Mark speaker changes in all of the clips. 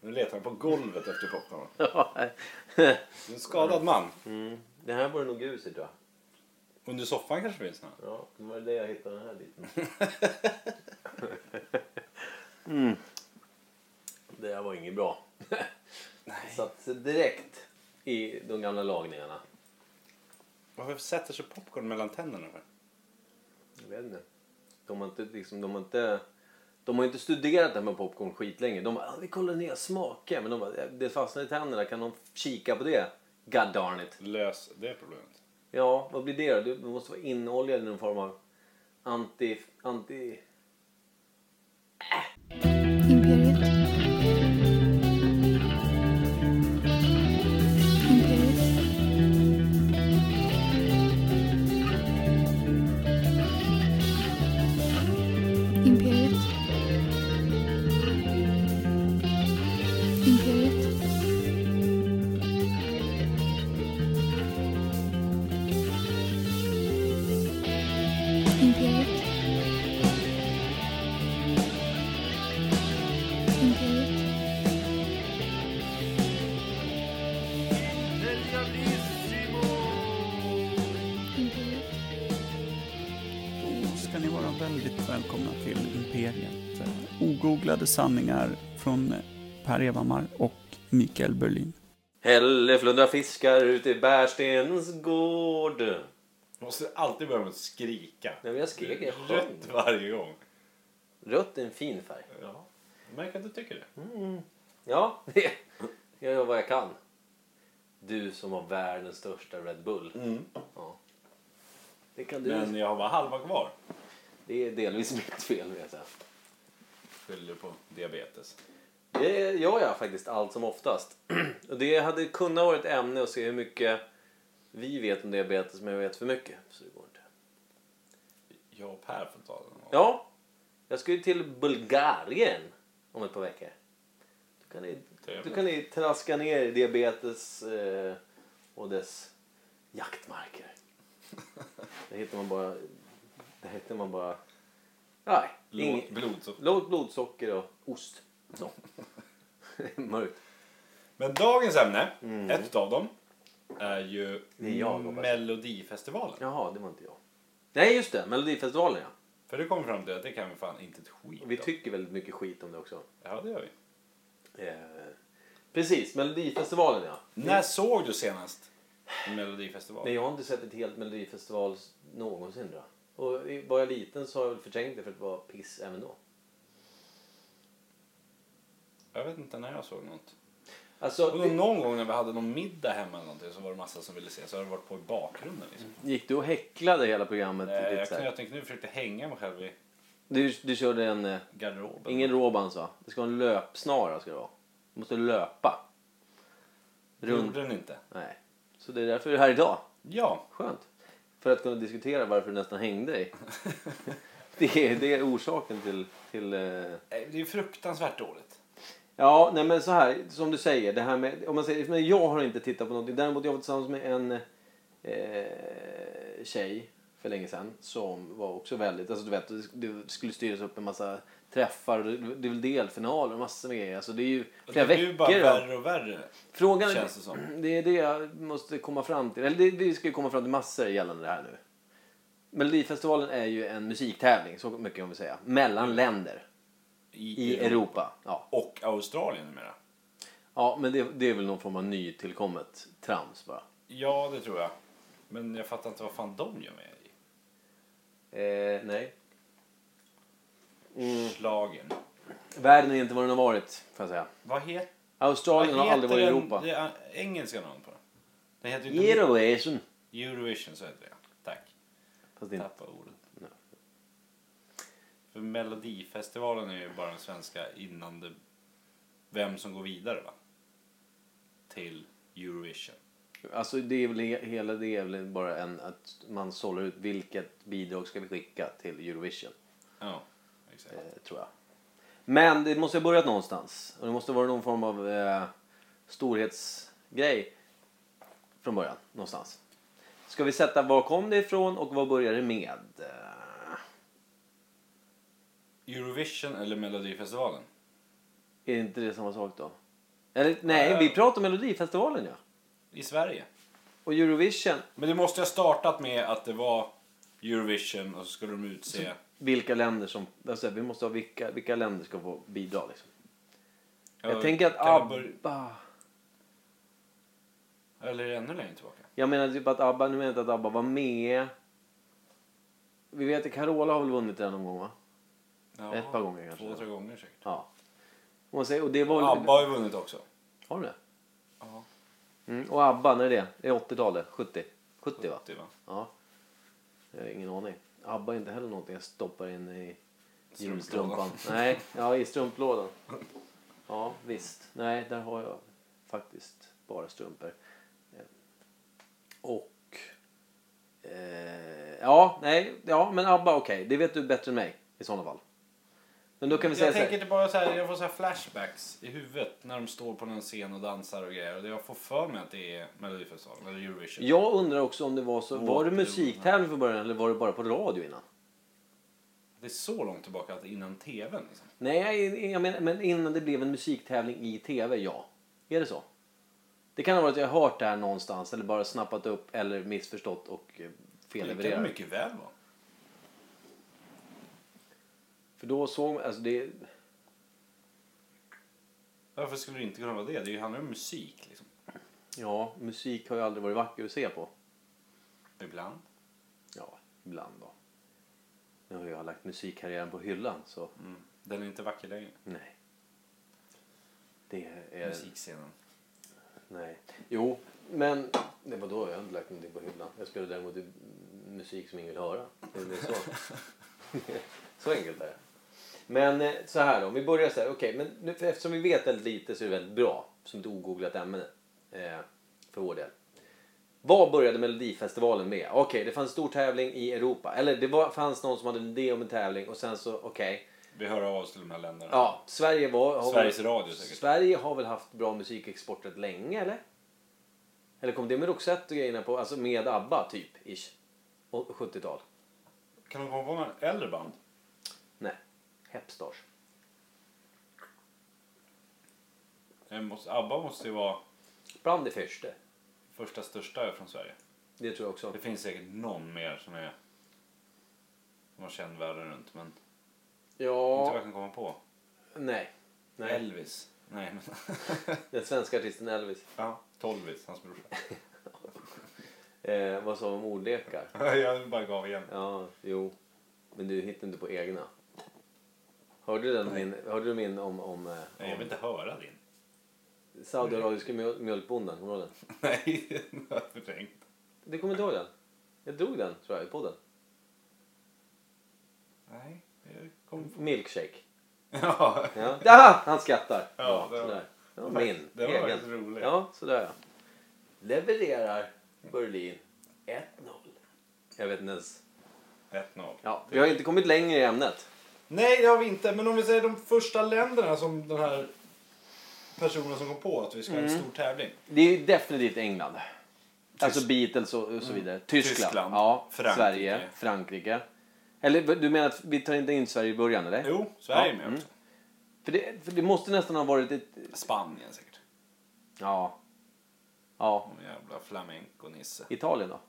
Speaker 1: Nu letar han på golvet efter popcorn.
Speaker 2: Ja.
Speaker 1: Du är en skadad man.
Speaker 2: Mm. Det här var det nog grus i tror jag.
Speaker 1: Under soffan kanske finns någon.
Speaker 2: Ja, det var det jag hittade den här biten. Det här var inget bra.
Speaker 1: Nej.
Speaker 2: Satt sig direkt i de gamla lagningarna.
Speaker 1: Varför sätter sig popcorn mellan tänderna? För?
Speaker 2: Jag vet inte. De har inte, liksom, de har inte, de har inte studerat det här med popcorn skitlänge. De bara, ah, vi kollar nya smaker. Men de bara, det fastnar i tänderna. Kan de kika på det? God darn it.
Speaker 1: Lös det problemet.
Speaker 2: Ja, vad blir det då? Du måste vara inoljad i någon form av anti... anti...
Speaker 3: Imperiet. Imperiet. Imperiet. Imperiet. Imperiet. Imperiet. Imperiet.
Speaker 4: Då ska ni vara väldigt välkomna till Imperiet. Eh, Ogooglade sanningar från Per Evhammar och Mikael Berlin.
Speaker 2: Helle flundra fiskar ute i Bärstenens gård. Nej,
Speaker 1: Måste alltid börja med att skrika.
Speaker 2: men jag skrek, jag sjöng.
Speaker 1: Rött varje gång.
Speaker 2: Rött är en fin färg.
Speaker 1: Ja. Märk att du tycker det.
Speaker 2: Mm. Ja, det jag gör vad jag kan. Du som var världens största Red Bull. Ja. Det kan du.
Speaker 1: Men jag har bara halva kvar.
Speaker 2: Det är delvis mitt fel vet jag.
Speaker 1: Skyller på diabetes.
Speaker 2: Det gör jag faktiskt allt som oftast. Och det hade kunnat vara ett ämne att se hur mycket vi vet om diabetes men jag vet för mycket. Så det går inte.
Speaker 1: Jag och Per får ta den.
Speaker 2: Ja, jag ska ju till Bulgarien om ett par veckor. Då kan ni, då kan ni traska ner i diabetes eh, och dess jaktmarker. Där hittar man bara... Där hittar man bara... Nej,
Speaker 1: Blod,
Speaker 2: ing-
Speaker 1: blodsocker.
Speaker 2: lågt blodsocker och ost. Så. Mörkt.
Speaker 1: Men dagens ämne, ett av dem, är ju
Speaker 2: Mm. Det är jag, hoppas jag.
Speaker 1: Melodifestivalen.
Speaker 2: Jaha, det var inte jag. Nej, just det. Melodifestivalen, ja.
Speaker 1: För det kommer fram till att det kan vi fan inte ett skit
Speaker 2: Vi
Speaker 1: om.
Speaker 2: tycker väldigt mycket skit om det också.
Speaker 1: Ja, det gör vi.
Speaker 2: Eh, precis, Melodifestivalen, ja.
Speaker 1: När såg du senast Melodifestivalen?
Speaker 2: Nej, jag har inte sett ett helt melodifestival någonsin. Då. Och i- var jag liten så har jag väl förträngt det för att det var piss även då.
Speaker 1: Jag vet inte när jag såg något.
Speaker 2: Alltså,
Speaker 1: Och då någon gång när vi hade någon middag hemma eller någonting så var det massa som ville se så har det varit på i bakgrunden liksom.
Speaker 2: gick du och häcklade hela programmet?
Speaker 1: Eh,
Speaker 2: Mm. lite
Speaker 1: Jag
Speaker 2: så här?
Speaker 1: knöt en kniv och försökte hänga mig själv i
Speaker 2: Du, du körde en... eh,
Speaker 1: garderoben.
Speaker 2: Ingen Robans va? Det ska vara en löpsnara. Ska det vara. Du måste löpa.
Speaker 1: Det gjorde
Speaker 2: Runt.
Speaker 1: den inte.
Speaker 2: Nej. Så det är därför du är här idag.
Speaker 1: Ja,
Speaker 2: Skönt. För att kunna diskutera varför du nästan hängde dig. det, är, det är orsaken till... till eh,
Speaker 1: eh, det är fruktansvärt dåligt.
Speaker 2: Ja, nej men så här, som du säger, det här med, om man säger, men jag har inte tittat på någonting. Däremot jag var tillsammans med en eh, tjej för länge sedan som var också väldigt, alltså du vet, det skulle styras upp en massa träffar, det- det är väl delfinaler och massor med grejer. Alltså det är ju
Speaker 1: Och
Speaker 2: flera
Speaker 1: det blir ju bara
Speaker 2: veckor. va?
Speaker 1: värre och värre.
Speaker 2: Frågan
Speaker 1: känns det som.
Speaker 2: det är det jag måste komma fram till. Eller det, vi ska ju komma fram till massor gällande det här nu. Melodifestivalen är ju en musiktävling, så mycket kan vi säga, mellan länder i Europa. Ja.
Speaker 1: Och Australien numera.
Speaker 2: Ja, men det, det är väl någon form av nytillkommet trams bara.
Speaker 1: Ja, det tror jag. Men jag fattar inte vad fan de gör med i.
Speaker 2: Eh, nej. Mm.
Speaker 1: Schlagern.
Speaker 2: Världen är inte vad den har varit, får jag säga.
Speaker 1: Vad, het, vad
Speaker 2: Australien har aldrig varit i Europa.
Speaker 1: det är engelska namn på den? Den heter ju inte
Speaker 2: Eurovision.
Speaker 1: Eurovision, så heter det. Tack.
Speaker 2: Fast det är inte...
Speaker 1: Tappa ordet. För Melodifestivalen är ju bara den svenska innan det... Vem som går vidare, va? Till Eurovision.
Speaker 2: Alltså, det är väl he- hela det är väl bara en att man sållar ut vilket bidrag ska vi skicka till Eurovision,
Speaker 1: Ja, exakt.
Speaker 2: eh, tror jag. Men det måste ha börjat någonstans. Och det måste vara någon form av eh, storhetsgrej från början, någonstans. Ska vi sätta var kom det ifrån och vad började det med? Eh,
Speaker 1: Eurovision eller Melodifestivalen?
Speaker 2: Är inte det samma sak då? Eller nej,
Speaker 1: Eh.
Speaker 2: vi pratar om Melodifestivalen ja.
Speaker 1: I Sverige.
Speaker 2: Och Eurovision,
Speaker 1: Men det måste ha startat med att det var Eurovision och så skulle de utse...
Speaker 2: vilka länder som... Alltså, vi måste ha vilka, vilka länder ska få bidra liksom.
Speaker 1: Ja,
Speaker 2: Jag tänker att
Speaker 1: kan det börja-
Speaker 2: ABBA...
Speaker 1: Eller ännu längre tillbaka.
Speaker 2: Jag menar typ att ABBA, nu menar jag inte att ABBA var med. Vi vet att Carola har väl vunnit den någon gång va?
Speaker 1: Ja,
Speaker 2: Ett par gånger kanske.
Speaker 1: Två, tre gånger säkert.
Speaker 2: Ja. Och, man säger, och det var väl...
Speaker 1: ABBA har ju vunnit också.
Speaker 2: Har du det?
Speaker 1: Ja.
Speaker 2: Mm, och ABBA, när är det? Är det 80-talet? 70? 70 va?
Speaker 1: Det var
Speaker 2: Ja. Jag har ingen aning. ABBA är inte heller någonting jag stoppar in i
Speaker 1: Strumplådan.
Speaker 2: julstrumpan. Nej, ja i strumplådan. Ja, visst. Nej, där har jag faktiskt bara strumpor. Eh, Och... Eh, ja, nej, ja, men ABBA okej. Det vet du bättre än mig i sådana fall. Men då kan vi säga
Speaker 1: Mm, Jag
Speaker 2: så här.
Speaker 1: tänker inte bara så här, jag får så här flashbacks i huvudet när de står på någon scen och dansar och grejer. Och det jag får för mig att det är Melodifestivalen eller Eurovision.
Speaker 2: Jag undrar också om det var så. Var det
Speaker 1: Återvunna.
Speaker 2: musiktävling från början eller var det bara på radio innan?
Speaker 1: Det är så långt tillbaka att det är innan TVn liksom.
Speaker 2: Nej, jag, jag menar, men innan det blev en musiktävling i tv, ja. Är det så? Det kan ha varit att jag har hört det här någonstans eller bara snappat upp eller missförstått och eh,
Speaker 1: Det kan det
Speaker 2: fellevererat.
Speaker 1: mycket väl vara.
Speaker 2: För då såg man, alltså det...
Speaker 1: Varför skulle det inte kunna vara det? Det handlar ju om musik liksom.
Speaker 2: Ja, musik har ju aldrig varit vacker att se på.
Speaker 1: Ibland.
Speaker 2: Ja, ibland då. Nu har jag lagt musikkarriären på hyllan så
Speaker 1: Mm. Den är inte vacker längre.
Speaker 2: nej. Det är...
Speaker 1: Musikscenen.
Speaker 2: Nej. Jo, men... Nej, vadå? Jag har inte lagt någonting på hyllan. Jag spelar däremot i- musik som ingen vill höra. Det är väl så. så enkelt är det. Men eh, så här då, om vi börjar så här. Okej, men nu, för eftersom vi vet väldigt lite så är det väldigt bra som ett ogooglat ämne eh, för vår del. Vad började Melodifestivalen med? Okej, det fanns en stor tävling i Europa. Eller det var, fanns någon som hade en idé om en tävling och sen så, okej.
Speaker 1: Vi hör av oss till de här länderna.
Speaker 2: Ja, Sverige var... har
Speaker 1: Sveriges
Speaker 2: väl-
Speaker 1: Radio säkert.
Speaker 2: Sverige har väl haft bra musikexport rätt länge, eller? Eller kom det med Roxette och grejerna på, alltså med ABBA typ, ish? Och 70-tal?
Speaker 1: Kan de komma på någon äldre band?
Speaker 2: Nej. Hepstars.
Speaker 1: Eh, måste- ABBA måste ju vara
Speaker 2: Bland det första.
Speaker 1: första största från Sverige.
Speaker 2: Det tror jag också.
Speaker 1: Det finns säkert någon mer som är som har känd världen runt men inte vad jag
Speaker 2: Ja,
Speaker 1: kan komma på.
Speaker 2: nej. Nej.
Speaker 1: Elvis. Nej men.
Speaker 2: Den svenska artisten Elvis.
Speaker 1: ja, Tolvis, hans brorsa.
Speaker 2: Eh, vad sa de om ordlekar?
Speaker 1: jag bara gav igen.
Speaker 2: Ja, jo. Men du hittade inte på egna. Hörde du, den min, hörde du min om, om, eh,
Speaker 1: Nej, jag vill
Speaker 2: om
Speaker 1: inte höra din.
Speaker 2: saudiarabiska mjöl- mjölkbonden? Kommer du ihåg den?
Speaker 1: Nej, den har jag förträngt.
Speaker 2: Du kommer inte ihåg den? Jag drog den, tror jag, i podden.
Speaker 1: Nej, jag kom på.
Speaker 2: Milkshake.
Speaker 1: Ja,
Speaker 2: Ja. Ah, han skrattar.
Speaker 1: Ja, det var-
Speaker 2: sådär. Det var
Speaker 1: det var
Speaker 2: min
Speaker 1: faktiskt- det var
Speaker 2: egen.
Speaker 1: faktiskt roligt.
Speaker 2: Ja, sådär ja. Levererar Berlin 1-0. Jag vet inte ens.
Speaker 1: 1-0.
Speaker 2: Ja, vi har inte kommit längre i ämnet.
Speaker 1: Nej, det har vi inte. Men om vi säger de första länderna som den här personen som kom på att vi ska ha
Speaker 2: Mm.
Speaker 1: en stor tävling.
Speaker 2: Det är ju definitivt England. Alltså Beatles och, och så vidare. Tyskland.
Speaker 1: Mm. Tyskland.
Speaker 2: Ja,
Speaker 1: Frankrike.
Speaker 2: Sverige. Frankrike. Eller v- du menar att vi tar inte in Sverige i början eller?
Speaker 1: Jo, Sverige är
Speaker 2: Ja,
Speaker 1: med
Speaker 2: mm.
Speaker 1: också.
Speaker 2: För det, för det måste nästan ha varit ett...
Speaker 1: Spanien säkert.
Speaker 2: Ja. Ja.
Speaker 1: Någon jävla flamenco-nisse.
Speaker 2: Italien då?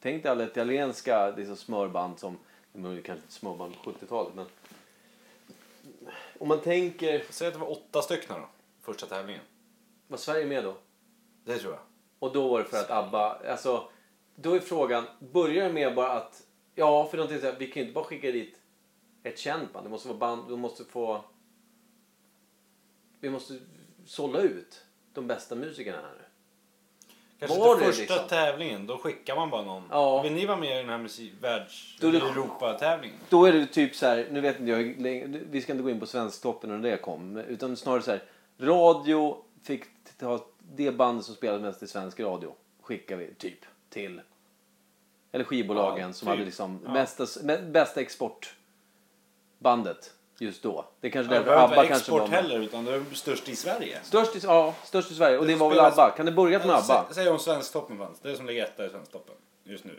Speaker 2: Tänk dig alla italienska liksom, smörband som, det var ju kanske inte smörband på 70-talet men. Om man tänker,
Speaker 1: Säg att det var åtta stycken då. Första tävlingen.
Speaker 2: var Sverige med då?
Speaker 1: Det tror jag.
Speaker 2: Och då var det för att ABBA, alltså då är frågan, börjar det med bara att, ja för de tänkte så här, vi kan ju inte bara skicka dit ett känt band, det måste vara band, de måste få, vi måste sålla ut de bästa musikerna här nu.
Speaker 1: Kanske
Speaker 2: Var
Speaker 1: inte
Speaker 2: det
Speaker 1: första
Speaker 2: liksom?
Speaker 1: tävlingen, då skickar man bara någon.
Speaker 2: Ja.
Speaker 1: Vill ni vara med i den här musik- världs...
Speaker 2: Då är det-
Speaker 1: Europa-tävlingen?
Speaker 2: Då är det typ så här, nu vet inte jag, hur länge- vi ska inte gå in på Svensktoppen och när det kom, utan snarare så här, radio fick ta det bandet som spelade mest i svensk radio, skickar vi typ till, eller skivbolagen
Speaker 1: Ja,
Speaker 2: som
Speaker 1: typ.
Speaker 2: hade liksom
Speaker 1: Ja.
Speaker 2: mesta, mä- bästa exportbandet just då. Det är kanske
Speaker 1: Ja, det
Speaker 2: därför
Speaker 1: behöver inte
Speaker 2: ABBA
Speaker 1: vara
Speaker 2: kanske var
Speaker 1: export
Speaker 2: med.
Speaker 1: heller, utan det är störst i Sverige.
Speaker 2: Störst i, ja, störst i Sverige, och det var väl
Speaker 1: Spelas-
Speaker 2: ABBA? Kan det börjat med ABBA?
Speaker 1: Sä- Säg om Svensktoppen fanns. Det är som ligger etta i Svensktoppen just nu.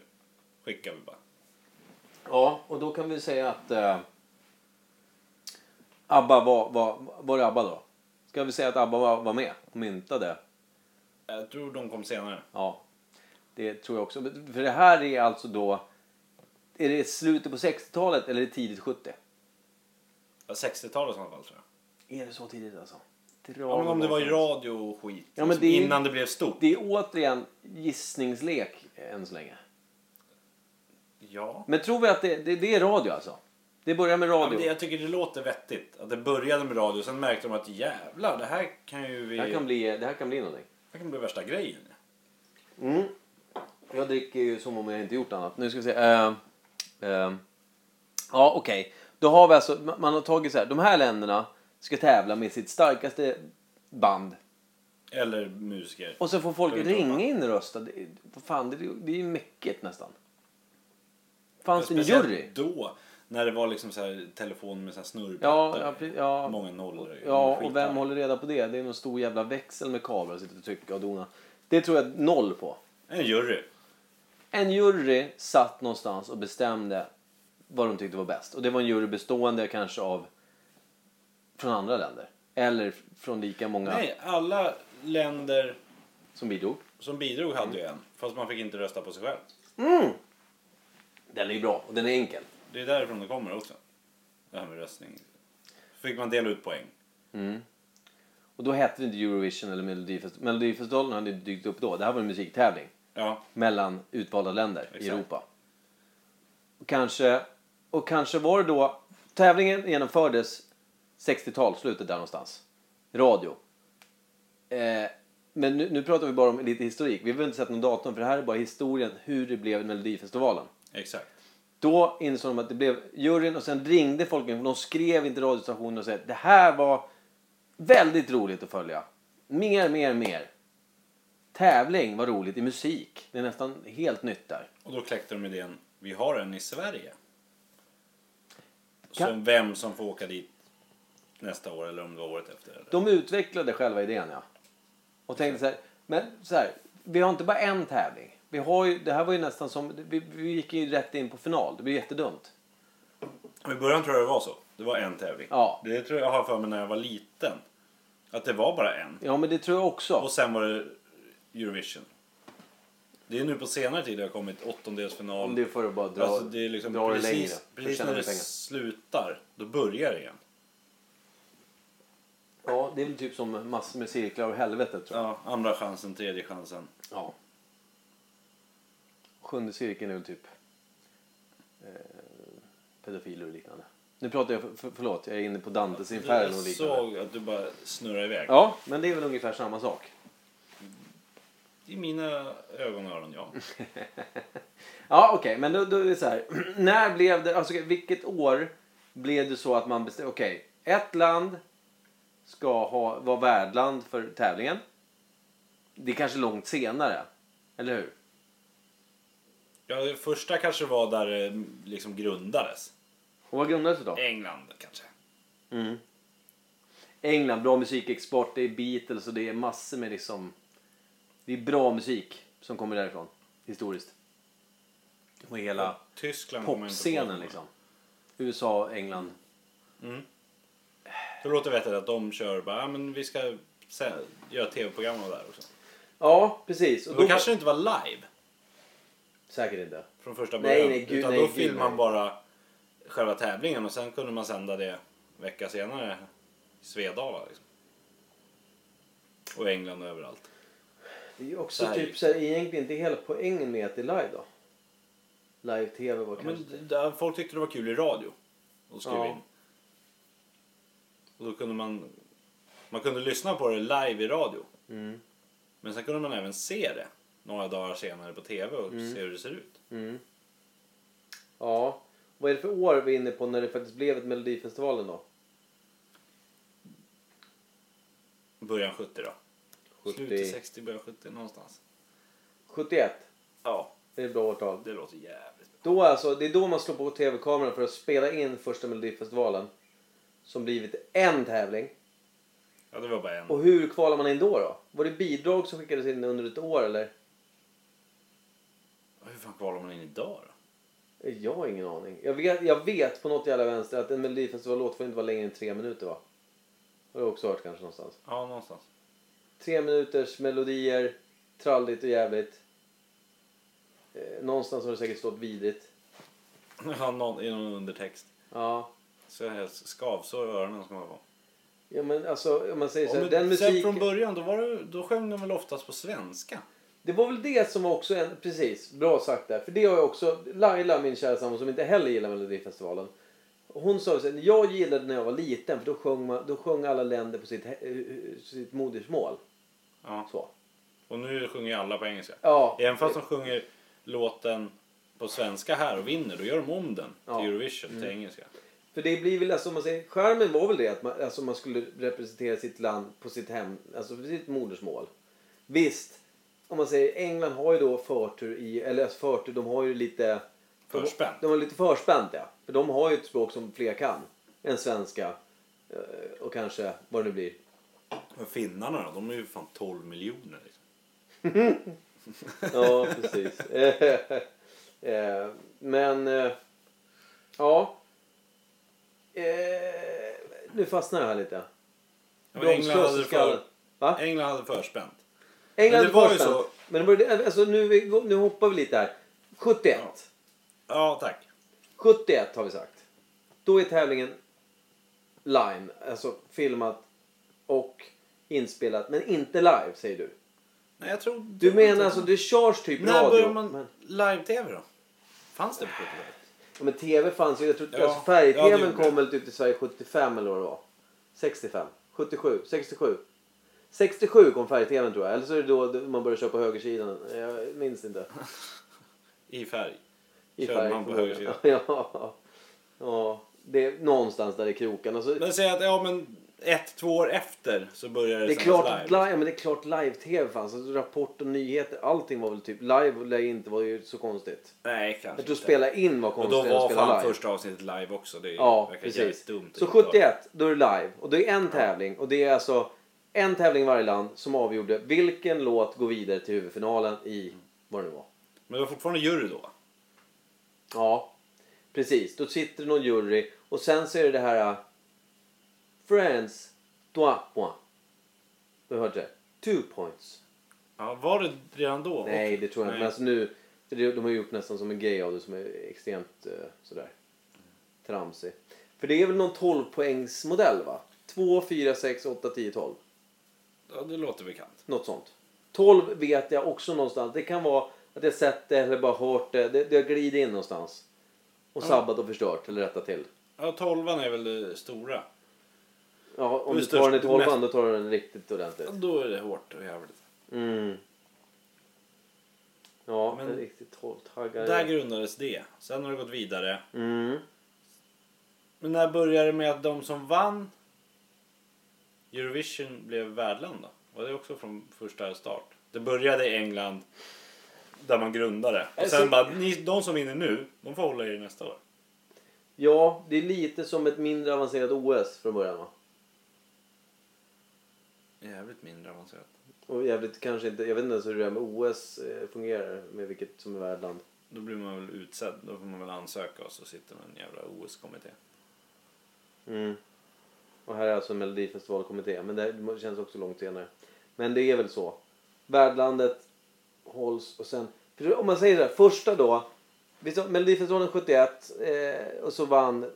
Speaker 1: Skickar vi bara.
Speaker 2: Ja, och då kan vi säga att eh, ABBA var, var, var det ABBA då? Ska vi säga att ABBA var, var med och myntade?
Speaker 1: Jag tror de kom senare.
Speaker 2: Ja, det tror jag också. För det här är alltså då... Är det slutet på 60-talet eller är det tidigt 70?
Speaker 1: Ja, 60-talet i alla fall tror jag.
Speaker 2: Är det så tidigt alltså? Dra
Speaker 1: Ja, men om det var i
Speaker 2: någonstans.
Speaker 1: radio och skit.
Speaker 2: Ja, men
Speaker 1: liksom,
Speaker 2: det är-
Speaker 1: Innan det blev stort.
Speaker 2: Det är återigen gissningslek än så länge.
Speaker 1: Ja.
Speaker 2: Men tror vi att det, det, det är radio alltså? Det börjar med
Speaker 1: ja men
Speaker 2: radio.
Speaker 1: det, jag tycker det låter vettigt. Att det började med radio. Sen märkte de att jävlar, det här kan ju vi...
Speaker 2: det, här kan bli, det här kan bli någonting.
Speaker 1: det här kan bli värsta grejen.
Speaker 2: Mm. Jag dricker ju som om jag inte gjort annat. Nu ska vi se. Eh, eh, ja, okej. Då har vi alltså, ma- man har tagit så här. De här länderna ska tävla med sitt starkaste band.
Speaker 1: Eller musiker.
Speaker 2: Och så får folk
Speaker 1: Ska vi inte
Speaker 2: ringa
Speaker 1: hoppa?
Speaker 2: in och rösta. Det, är- vad fan, det, är- det är ju mäckigt nästan. Fanns det en
Speaker 1: Speciellt
Speaker 2: jury?
Speaker 1: då. När det var liksom så här, telefon med så här snurrplattor.
Speaker 2: Ja, ja, pre- ja.
Speaker 1: Många nollor.
Speaker 2: Ja,
Speaker 1: Skit
Speaker 2: och vem
Speaker 1: där.
Speaker 2: håller reda på det? Det är någon stor jävla växel med kablar och sitter och trycker och donar. Det tror jag noll på.
Speaker 1: En jury.
Speaker 2: En jury satt någonstans och bestämde vad de tyckte var bäst. Och det var en jury bestående kanske av från andra länder. Eller f- från lika många
Speaker 1: Nej, alla länder
Speaker 2: som bidrog.
Speaker 1: som bidrog hade ju en. Fast man fick inte rösta på sig själv.
Speaker 2: Den är ju bra och den är enkel.
Speaker 1: Det är därifrån det kommer också. Det här med röstning. Fick man dela ut poäng.
Speaker 2: Och då hette det inte Eurovision eller Melodifestivalen. Melodifestivalen hade inte dykt upp då. Det här var en musiktävling
Speaker 1: Ja,
Speaker 2: mellan utvalda länder i
Speaker 1: Exakt.
Speaker 2: Europa. Och kanske, och kanske var det då... Tävlingen genomfördes 60-tal, slutet där någonstans. Radio. Eh, men nu, nu pratar vi bara om lite historik. Vi behöver inte sätta någon datum för det här är bara historien hur det blev i Melodifestivalen.
Speaker 1: exakt.
Speaker 2: Då insåg de att det blev juryn och sen ringde folk in, för de skrev inte radiostationen och sa att det här var väldigt roligt att följa. Mer, mer, mer. Tävling var roligt i musik. Det är nästan helt nytt där.
Speaker 1: Och då kläckte de idén, vi har en i Sverige.
Speaker 2: Kan-
Speaker 1: Så vem som får åka dit nästa år eller om det var året efter. Eller?
Speaker 2: De utvecklade själva idén ja. Och tänkte så här, men så här, vi har inte bara en tävling. Vi har ju, det här var ju nästan som, vi, vi gick ju rätt in på final. Det blir jättedumt.
Speaker 1: Och I början tror jag det var så. Det var en tävling.
Speaker 2: Ja.
Speaker 1: Det tror jag jag har för mig när jag var liten. Att det var bara en.
Speaker 2: Ja men det tror jag också.
Speaker 1: Och sen var det Eurovision. Det är nu på senare tid det har kommit åttondelsfinal.
Speaker 2: Om det är för att bara dra,
Speaker 1: alltså det är liksom
Speaker 2: dra det längre.
Speaker 1: precis,
Speaker 2: För att
Speaker 1: precis
Speaker 2: tjäna
Speaker 1: när
Speaker 2: mer
Speaker 1: det
Speaker 2: pengar.
Speaker 1: slutar, då börjar det igen.
Speaker 2: Ja, det är väl typ som massor med cirklar och helvetet tror jag.
Speaker 1: Ja, andra chansen, tredje chansen.
Speaker 2: Ja. Sjunde cirkeln är väl typ eh, pedofiler och liknande. Nu pratar jag, för, för, förlåt, jag är inne på Dantes
Speaker 1: Jag
Speaker 2: inferno och liknande.
Speaker 1: såg att du bara snurrar iväg.
Speaker 2: Ja, men det är väl ungefär samma sak.
Speaker 1: I mina ögon och öron, ja.
Speaker 2: Ja, okej, men då, då är det så här. När blev det, alltså okej, vilket år blev det så att man bestämde, okej, ett land ska ha, vara värdland för tävlingen. Det är kanske långt senare, eller hur?
Speaker 1: ja det första kanske var där det liksom grundades.
Speaker 2: Och vad grundades det då?
Speaker 1: England kanske.
Speaker 2: Mm. England, bra musikexport, det är Beatles och det är massor med liksom... Det är bra musik som kommer därifrån, historiskt. Och hela
Speaker 1: Tyskland kommer jag inte på.
Speaker 2: popscenen liksom. USA, England.
Speaker 1: Det låter vettigt att de kör bara, ja men vi ska sä- göra tv-program av det här också.
Speaker 2: Ja, precis. Och
Speaker 1: Då kanske det inte var live
Speaker 2: Säkert inte.
Speaker 1: från första
Speaker 2: Nej,
Speaker 1: början.
Speaker 2: nej, gud,
Speaker 1: utan
Speaker 2: nej,
Speaker 1: då
Speaker 2: gud,
Speaker 1: filmade man
Speaker 2: nej.
Speaker 1: bara själva tävlingen och sen kunde man sända det vecka senare i Svedala liksom. Och England och överallt.
Speaker 2: Det är ju också
Speaker 1: Det här är
Speaker 2: typ
Speaker 1: ju-
Speaker 2: så här, egentligen inte hela poängen med att det är live då. Live-tv var
Speaker 1: Ja,
Speaker 2: kanske...
Speaker 1: men där folk tyckte det var kul i radio. Och skrev
Speaker 2: Ja.
Speaker 1: in. Och då kunde man... Man kunde lyssna på det live i radio.
Speaker 2: Mm,
Speaker 1: Men sen kunde man även se det några dagar senare på TV och
Speaker 2: Mm.
Speaker 1: se hur det ser ut.
Speaker 2: Ja. Vad är det för år vi är inne på när det faktiskt blev ett Melodifestivalen då?
Speaker 1: Början 70 då.
Speaker 2: 70.
Speaker 1: Slutet 60, början 70 någonstans.
Speaker 2: 71?
Speaker 1: Ja,
Speaker 2: Det är ett bra årtal.
Speaker 1: det låter jävligt bra.
Speaker 2: Då alltså, det är då man slår på tv-kameran för att spela in första Melodifestivalen. Som blivit en tävling.
Speaker 1: Ja, det var bara en.
Speaker 2: Och hur kvalar man in då? då? Var det bidrag som skickades in under ett år eller?
Speaker 1: Hur fan kvalar man in idag då?
Speaker 2: Jag har ingen aning. Jag vet, jag vet på något jävla vänster att en Melodifestivallåt får inte vara längre än tre minuter va? Har du också hört kanske någonstans.
Speaker 1: Ja, någonstans.
Speaker 2: Tre minuters melodier, tralligt och jävligt. Eh, någonstans har det säkert stått vidrigt.
Speaker 1: Ja, någon, I någon undertext.
Speaker 2: Ja.
Speaker 1: Så jag helst skavsår i öronen ska man få.
Speaker 2: Ja men alltså om man säger så
Speaker 1: Om
Speaker 2: här,
Speaker 1: du
Speaker 2: den
Speaker 1: sett
Speaker 2: musiken.
Speaker 1: från början, då, var det, då sjöng de väl oftast på svenska?
Speaker 2: Det var väl det som var också en, precis, bra sagt där. För det har jag också, Laila min kära sambo som inte heller gillar Melodifestivalen. Hon sa så här, jag gillade när jag var liten för då sjöng, man, då sjöng alla länder på sitt, he- eh, eh, sitt modersmål.
Speaker 1: Ja.
Speaker 2: Så.
Speaker 1: Och nu sjunger ju alla på engelska.
Speaker 2: Ja.
Speaker 1: Även fast de sjunger låten på svenska här och vinner, då gör de om den
Speaker 2: Ja.
Speaker 1: till Eurovision, till engelska.
Speaker 2: För det blir väl, alltså, om man säger, skärmen var väl det att man, alltså, man skulle representera sitt land på sitt hem, alltså på sitt modersmål. Visst, om man säger England har ju då förtur i, eller alltså förtur, de har ju lite...
Speaker 1: Förspänt.
Speaker 2: De, de har lite förspänt ja. För de har ju ett språk som fler kan. Än svenska. eh, Och kanske vad det nu blir.
Speaker 1: Men finnarna då, de är ju fan 12 miljoner. Liksom.
Speaker 2: Ja, precis. Eh, eh, Men, eh, ja. Eh, Nu fastnar jag här lite.
Speaker 1: Ja, men England
Speaker 2: Bromskloss i
Speaker 1: hade det
Speaker 2: skallen.
Speaker 1: för,
Speaker 2: Va?
Speaker 1: England hade förspänt.
Speaker 2: England
Speaker 1: Men det var ju
Speaker 2: först,
Speaker 1: så.
Speaker 2: Men det var ju det, alltså nu, vi- nu hoppar vi lite här. 71.
Speaker 1: Ja, tack.
Speaker 2: 71 har vi sagt. Då är tävlingen live, alltså filmat och inspelat, men inte live säger du.
Speaker 1: Nej, jag tror...
Speaker 2: Du menar alltså det körs typ
Speaker 1: När
Speaker 2: radio?
Speaker 1: började man
Speaker 2: Men,
Speaker 1: live-tv då? Fanns det på 70-talet?
Speaker 2: ja, men tv fanns ju, jag tror
Speaker 1: Ja.
Speaker 2: alltså
Speaker 1: Ja, det
Speaker 2: färg-tvn
Speaker 1: gjorde
Speaker 2: kom
Speaker 1: det.
Speaker 2: väl typ till Sverige 75 eller vad det var. 65, 77, 67. 67 kom färg-tvn tror jag, eller så är det då man började köpa högersidan. Jag minns inte.
Speaker 1: I färg.
Speaker 2: I
Speaker 1: Körde man på
Speaker 2: förmodligen.
Speaker 1: högersidan.
Speaker 2: ja. ja, det är någonstans där i kroken. Alltså,
Speaker 1: Men säg att ja, men ett, två år efter så börjar det,
Speaker 2: Det är
Speaker 1: sändas
Speaker 2: klart
Speaker 1: live.
Speaker 2: live. Live, men det är klart live-tv fanns. Alltså, Rapport och nyheter, allting var väl typ live och lär inte var ju så konstigt.
Speaker 1: Nej, kanske
Speaker 2: Jag tror
Speaker 1: inte.
Speaker 2: spela in var
Speaker 1: Och
Speaker 2: konstigt.
Speaker 1: då var
Speaker 2: spela
Speaker 1: fan
Speaker 2: live.
Speaker 1: första avsnittet live också. Det
Speaker 2: Ja,
Speaker 1: verkar jävligt
Speaker 2: precis.
Speaker 1: dumt. att
Speaker 2: Så
Speaker 1: inte ha.
Speaker 2: 71, då är det live. Och det är en tävling. Och det är alltså en tävling i varje land som avgjorde vilken låt går vidare till huvudfinalen i vad det nu var.
Speaker 1: Men det var fortfarande jury då?
Speaker 2: Ja, precis. Då sitter det någon jury och sen så är det det här äh, Friends, trois points. Du hörde det? Two points.
Speaker 1: Ja, var det redan då?
Speaker 2: Nej,
Speaker 1: Okej.
Speaker 2: det tror jag inte. Men
Speaker 1: Nej.
Speaker 2: alltså nu, det- de har gjort nästan som en grej av det som är extremt eh, sådär tramsig. För det är väl någon 12 poängsmodell va? 2, 4, 6, 8, 10, 12.
Speaker 1: Ja, det låter bekant.
Speaker 2: Något sånt. 12 vet jag också någonstans. Det kan vara att jag sett det eller bara hört det. Det, det har glidit in någonstans. Och sabbat och förstört eller rättat till.
Speaker 1: Ja, tolvan är väl det stora.
Speaker 2: Ja, om
Speaker 1: Det är
Speaker 2: du tar den i
Speaker 1: störst- mest-
Speaker 2: tolvan då tar du den riktigt
Speaker 1: Ja,
Speaker 2: ordentligt.
Speaker 1: Då är det hårt och jävligt.
Speaker 2: Mm. Ja,
Speaker 1: Men-
Speaker 2: en riktigt
Speaker 1: Där
Speaker 2: tolvtaggare.
Speaker 1: grundades det. Sen har det gått vidare.
Speaker 2: Mm.
Speaker 1: Men när började det med att de som vann Eurovision blev värdland då? Var det också från första start? Det började i England där man grundade. Och
Speaker 2: Alltså-
Speaker 1: sen bara, ni, de som vinner nu, de får hålla i det nästa år.
Speaker 2: Ja, det är lite som ett mindre avancerat OS från början va?
Speaker 1: Jävligt mindre avancerat.
Speaker 2: Och jävligt kanske inte, jag vet inte ens hur det där med OS eh, fungerar med vilket som är värdland.
Speaker 1: Då blir man väl utsedd. Då får man väl ansöka och så sitter någon jävla OS-kommitté.
Speaker 2: Mm. Och här är alltså en melodifestivalkommitté, men det känns också långt senare. Men det är väl så. Värdlandet hålls och sen, för om man säger så här, första då. vi sa Melodifestivalen 71 eh, och så vann,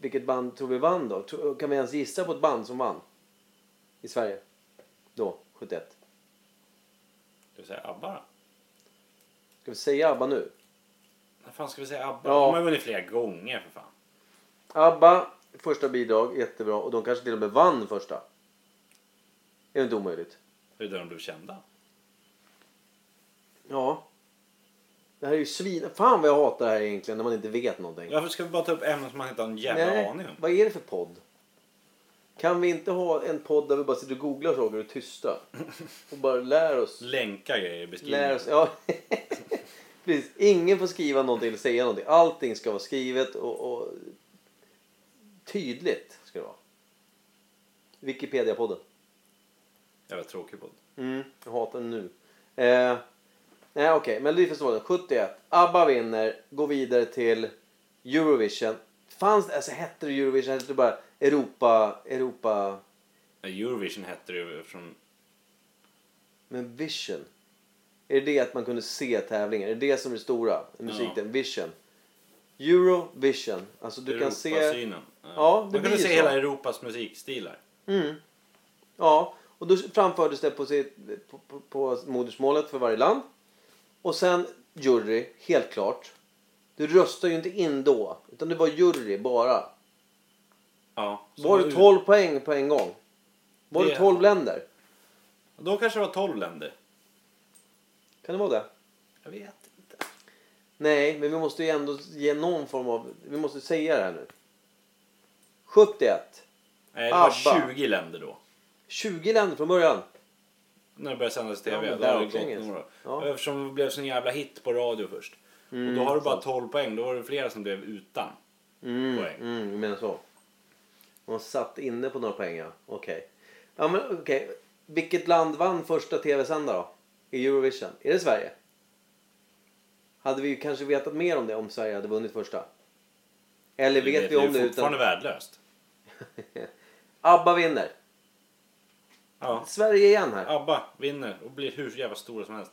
Speaker 2: vilket band tror vi vann då? Tro- Kan vi ens gissa på ett band som vann? I Sverige? Då, 71.
Speaker 1: Ska vi säga ABBA då?
Speaker 2: Ska vi säga ABBA nu?
Speaker 1: När fan ska vi säga ABBA?
Speaker 2: Ja.
Speaker 1: De har ju vunnit flera gånger för fan.
Speaker 2: ABBA, första bidrag, jättebra. Och de kanske till och med vann första. Det är inte omöjligt.
Speaker 1: Det är där de blev kända.
Speaker 2: Ja. Det här är ju svin... Fan vad jag hatar det här egentligen när man inte vet någonting.
Speaker 1: Varför ska vi bara ta upp ämnen som man inte har en jävla aning om?
Speaker 2: vad är det för podd? Kan vi inte ha en podd där vi bara sitter och googlar saker och är tysta? Och bara lär oss.
Speaker 1: Länka grejer i beskrivningen.
Speaker 2: Lär oss. Ja. Precis. Ingen får skriva någonting eller säga någonting. Allting ska vara skrivet och, och tydligt ska det vara. Wikipedia-podden.
Speaker 1: Jävla tråkig podd.
Speaker 2: Mm, jag hatar den nu. Eh, nej, okej. Melodifestivalen 71. ABBA vinner, går vidare till Eurovision. Fanns det, alltså hette det Eurovision? Hette det bara Europa, Europa
Speaker 1: Eh, Eurovision hette det ju eftersom...
Speaker 2: Men vision. Är det det att man kunde se tävlingar? Är det det som är det stora? Musiken, vision. Eurovision. Alltså du kan se...
Speaker 1: Europasynen. Eh,
Speaker 2: Ja, det
Speaker 1: Man kunde
Speaker 2: blir ju
Speaker 1: se
Speaker 2: så.
Speaker 1: hela Europas musikstilar.
Speaker 2: Mm. Ja, och då framfördes det på, sitt, på, på, på modersmålet för varje land. Och sen jury, helt klart. Du röstar ju inte in då, utan det var jury bara.
Speaker 1: Ja. så
Speaker 2: var
Speaker 1: då-
Speaker 2: det 12 poäng på en gång? Var det
Speaker 1: Det-
Speaker 2: 12 länder?
Speaker 1: Då kanske det var 12 länder.
Speaker 2: Kan det vara det?
Speaker 1: Jag vet inte.
Speaker 2: Nej, men vi måste ju ändå ge någon form av... Vi måste säga det här nu. 71.
Speaker 1: Nej, det var
Speaker 2: Abba.
Speaker 1: 20 länder då.
Speaker 2: 20 länder från början.
Speaker 1: När det började sändas i TV.
Speaker 2: Ja, men
Speaker 1: då har det
Speaker 2: verkligen.
Speaker 1: gått några.
Speaker 2: Ja.
Speaker 1: Eftersom det blev sån jävla hit på radio först. och då har du bara 12 poäng. Då var det flera som blev utan.
Speaker 2: Mm,
Speaker 1: Poäng.
Speaker 2: mm, jag menar så. De satt inne på några poäng, ja. Okej. Ja, men okej. Vilket land vann första tv-sändare då? I Eurovision? Är det Sverige? Hade vi kanske vetat mer om det om Sverige hade vunnit första? Eller vet, vi
Speaker 1: ju
Speaker 2: om det
Speaker 1: fortfarande
Speaker 2: utan...
Speaker 1: värdelöst.
Speaker 2: ABBA vinner.
Speaker 1: Ja.
Speaker 2: Sverige igen här.
Speaker 1: Abba vinner och blir hur jävla stora som helst.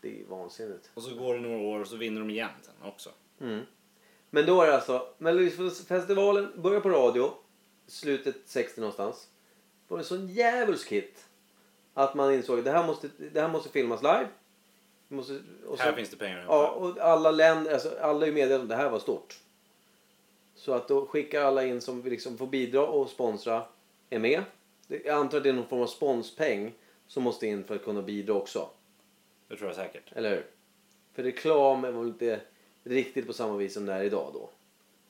Speaker 2: Det är ju vansinnigt.
Speaker 1: Och så går det några år och så vinner de igen sen också.
Speaker 2: Men då är det alltså Melodifestivalen börjar på radio slutet 60 någonstans. Det var en sån djävulsk hit att man insåg att det här måste, det här måste filmas live. Vi måste, och så-
Speaker 1: Här finns det pengar att hämta.
Speaker 2: Ja, och alla länder, alltså alla är ju medvetna om att det här var stort. Så att då skickar alla in som liksom får bidra och sponsra är med. Det- Jag antar att det är någon form av sponspeng som måste in för att kunna bidra också.
Speaker 1: Det tror jag säkert.
Speaker 2: Eller hur? För reklam är väl inte riktigt på samma vis som det är idag då.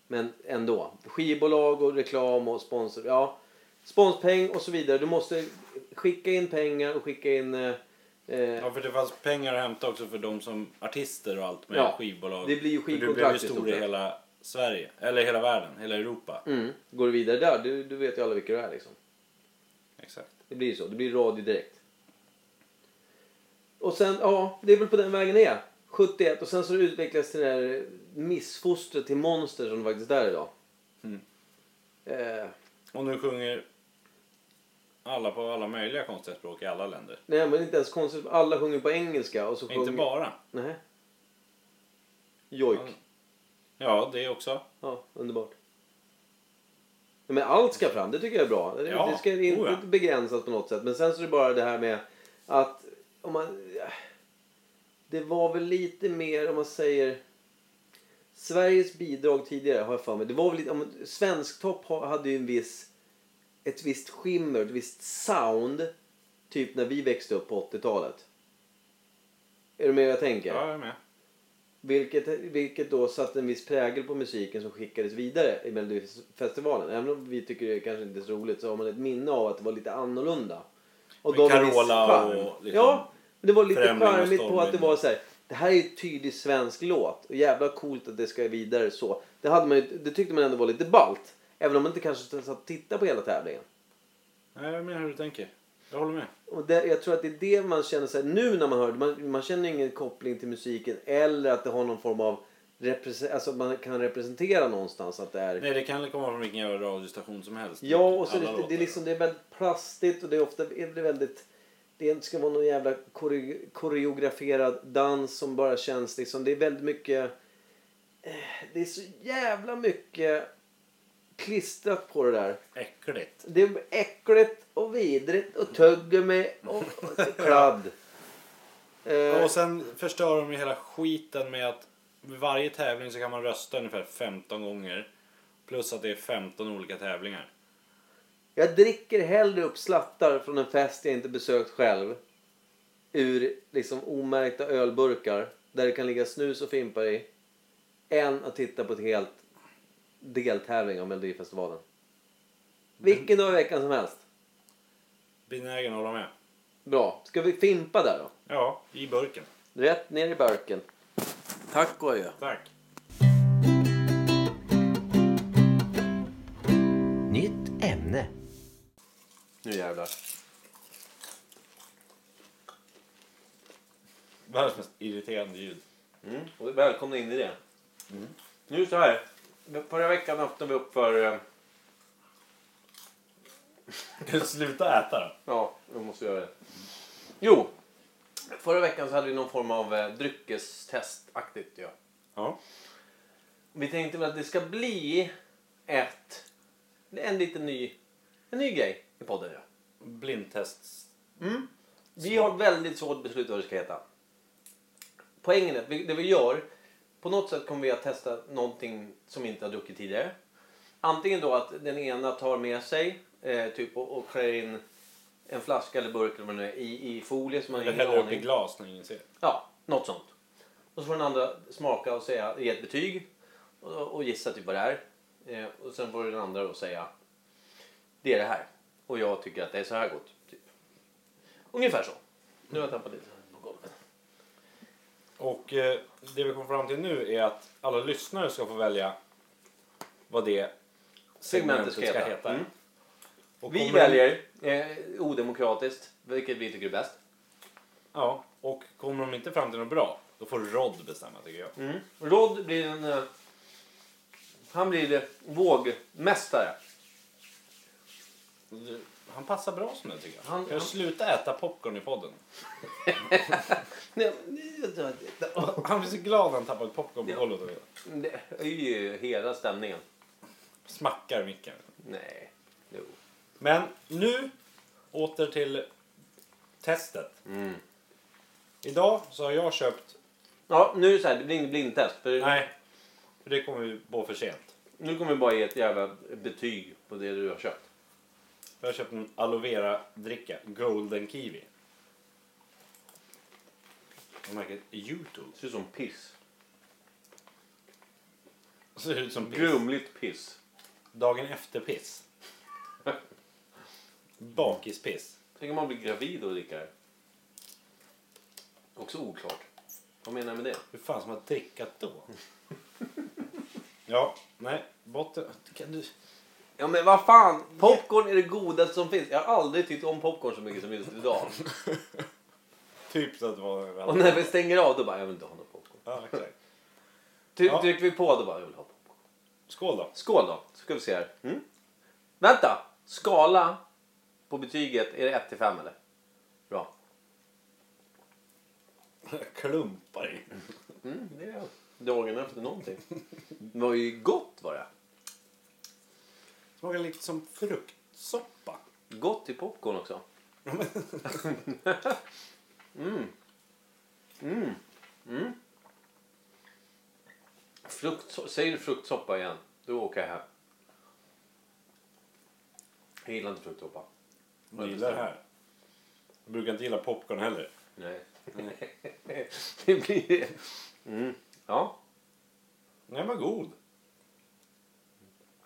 Speaker 2: Men ändå. Skivbolag och reklam och sponsor. Ja, sponspeng och så vidare. Du måste skicka in pengar och skicka in... Eh, eh,
Speaker 1: Ja, för det fanns pengar att hämta också för de som artister och allt med
Speaker 2: Ja,
Speaker 1: skivbolag.
Speaker 2: det blir ju
Speaker 1: För Du blev ju
Speaker 2: skivkontrakt i stort
Speaker 1: stor i
Speaker 2: sett.
Speaker 1: hela Sverige. Eller hela världen, hela Europa.
Speaker 2: mm. Går du vidare där, du, du vet ju alla vilka du är liksom.
Speaker 1: Exakt.
Speaker 2: Det blir ju så. Det blir radio direkt. Och sen, ja, det är väl på den vägen det är. 71 och sen så utvecklas det där missfostret till monster som det faktiskt är idag.
Speaker 1: Mm.
Speaker 2: Eh,
Speaker 1: Och nu sjunger alla på alla möjliga konstiga språk i alla länder.
Speaker 2: Nej, men det är inte ens konstigt. Alla sjunger på engelska och så sjunger...
Speaker 1: Inte bara.
Speaker 2: Nej. Jojk.
Speaker 1: Ja. Ja, det också.
Speaker 2: Ja, underbart. Nej, men allt ska fram, det tycker jag är bra. Det-
Speaker 1: Ja,
Speaker 2: Det ska inte
Speaker 1: oja.
Speaker 2: begränsas på något sätt. Men sen så är det bara det här med att om man... Det var väl lite mer om man säger... Sveriges bidrag tidigare har jag för mig. Det var väl lite, om, svensktopp ha- hade ju en viss, ett visst skimmer, ett visst sound. Typ när vi växte upp på 80-talet. Är du med vad jag tänker?
Speaker 1: Ja, jag är med.
Speaker 2: Vilket, vilket då satte en viss prägel på musiken som skickades vidare i Melodifestivalen. Även om vi tycker det är kanske inte är så roligt så har man ett minne av att det var lite annorlunda. Och
Speaker 1: Med
Speaker 2: då var det viss
Speaker 1: Carola
Speaker 2: charm.
Speaker 1: och liksom
Speaker 2: Ja, men det var lite
Speaker 1: Främling och
Speaker 2: charmigt på att det
Speaker 1: Stormvind.
Speaker 2: var så här. Det här är ju tydlig svensk låt och jävla coolt att det ska vidare så. Det, hade man, ju- det tyckte man ändå var lite balt Även om man inte kanske satt och tittade på hela tävlingen.
Speaker 1: Nej, jag menar hur du tänker. Jag håller med.
Speaker 2: Och det, jag tror att det är det man känner sig nu när man hör det. Man, man känner ingen koppling till musiken eller att det har någon form av represe- alltså att man kan representera någonstans att det är.
Speaker 1: Nej, det kan komma från vilken jävla radiostation som helst.
Speaker 2: Ja, och så är
Speaker 1: Alla
Speaker 2: det, det,
Speaker 1: låtar.
Speaker 2: är liksom, det är väldigt plastigt och det är ofta är det väldigt... Det ska vara någon jävla kore, koreograferad dans som bara känns liksom... Det är väldigt mycket... eh, Det är så jävla mycket klistrat på det där.
Speaker 1: Äckligt.
Speaker 2: Det är äckligt och vidrigt och tuggummi och, och kladd. Eh,
Speaker 1: Och sen förstör de ju hela skiten med att vid varje tävling så kan man rösta ungefär 15 gånger. Plus att det är 15 olika tävlingar.
Speaker 2: jag dricker hellre upp slattar från en fest jag inte besökt själv. Ur liksom omärkta ölburkar där det kan ligga snus och fimpar i. Än att titta på ett helt deltävling av Melodifestivalen. Vilken dag i veckan som helst.
Speaker 1: Benägen att hålla med.
Speaker 2: Bra. Ska vi fimpa där då?
Speaker 1: Ja, i burken.
Speaker 2: Rätt ner i burken. Tack och adjö.
Speaker 1: Tack.
Speaker 2: Nytt ämne. Nu jävlar.
Speaker 1: Världens mest irriterande ljud.
Speaker 2: Mm. Och välkomna in i det. Nu så här. Förra veckan öppnade vi upp för eh,
Speaker 1: Sluta äta då.
Speaker 2: Ja, jag måste göra det. Jo, förra veckan så hade vi någon form av eh, dryckestestaktigt. Ja.
Speaker 1: Ja.
Speaker 2: Vi tänkte väl att det ska bli ett, en liten ny, en ny grej i podden. Ja.
Speaker 1: Blindtest.
Speaker 2: Vi har väldigt svårt beslut vad det ska heta. Poängen är att vi, det vi gör, på något sätt kommer vi att testa någonting som vi inte har druckit tidigare. Antingen då att den ena tar med sig eh, typ och, och klär in en flaska eller burk eller vad det nu är i, i folie som man
Speaker 1: Eller
Speaker 2: har ingen
Speaker 1: häller upp i
Speaker 2: aning
Speaker 1: glas när ingen ser.
Speaker 2: Ja, något sånt. Och så får den andra smaka och säga, ge ett betyg och, och gissa typ vad det är. Eh, och sen får den andra då säga det är det här och jag tycker att det är så här gott. Typ. Ungefär så. Nu har jag tappat lite på golvet.
Speaker 1: Och eh, det vi kommer fram till nu är att alla lyssnare ska få välja vad det segmentet ska heta.
Speaker 2: Mm.
Speaker 1: Och
Speaker 2: Vi
Speaker 1: kommer-
Speaker 2: väljer eh, odemokratiskt vilket vi tycker är bäst.
Speaker 1: Ja, och kommer de inte fram till något bra, då får Rod bestämma tycker jag.
Speaker 2: Mm. Rod blir en... eh, Han blir eh, vågmästare.
Speaker 1: Han passar bra som det tycker jag.
Speaker 2: Han-
Speaker 1: kan
Speaker 2: han-
Speaker 1: du sluta äta popcorn i podden?
Speaker 2: Nej, men-
Speaker 1: Han blir så glad när han tappar popcorn på golvet och
Speaker 2: Det är ju hela stämningen.
Speaker 1: smackar micken.
Speaker 2: Nej. Jo.
Speaker 1: Men nu åter till testet.
Speaker 2: Mm.
Speaker 1: Idag så har jag köpt...
Speaker 2: Ja, nu är det så här, det blir inget blindtest. För
Speaker 1: Nej, för det kommer vi på för sent.
Speaker 2: Nu kommer vi bara ge ett jävla betyg på det du har köpt.
Speaker 1: Jag har köpt en aloe vera dricka, Golden Kiwi. Och märket YouTube.
Speaker 2: Det ser ut som piss.
Speaker 1: Ser ut som piss.
Speaker 2: Grumligt piss.
Speaker 1: Dagen efter piss. Bakispiss.
Speaker 2: Tänk om man blir gravid och dricker det. Också oklart. Vad menar jag med det?
Speaker 1: Hur fan som har drickat då? ja, nej. Botten... Kan du...
Speaker 2: Ja men vad fan! Popcorn är det godaste som finns. Jag har aldrig tyckt om popcorn så mycket som just idag.
Speaker 1: Typ så att det var...
Speaker 2: Och när vi stänger av då bara, jag vill inte ha någon popcorn.
Speaker 1: Ja, exakt.
Speaker 2: Ty-
Speaker 1: Ja.
Speaker 2: Trycker vi på då bara, jag vill ha popcorn.
Speaker 1: Skål då.
Speaker 2: Skål då, ska vi se här. Mm. Vänta! Skala på betyget, är det 1 till 5 eller? Bra.
Speaker 1: Klumpar i.
Speaker 2: Mm, det är dagen efter någonting. Det var ju gott var det.
Speaker 1: Smakar lite som fruktsoppa.
Speaker 2: Gott i popcorn också. mm. Mm. Mm. Frukt, säger du fruktsoppa igen, då åker jag hem. Jag gillar inte fruktsoppa.
Speaker 1: Jag gillar det här. Jag brukar inte gilla popcorn heller.
Speaker 2: Nej. det blir... Mm. Ja.
Speaker 1: Den var god.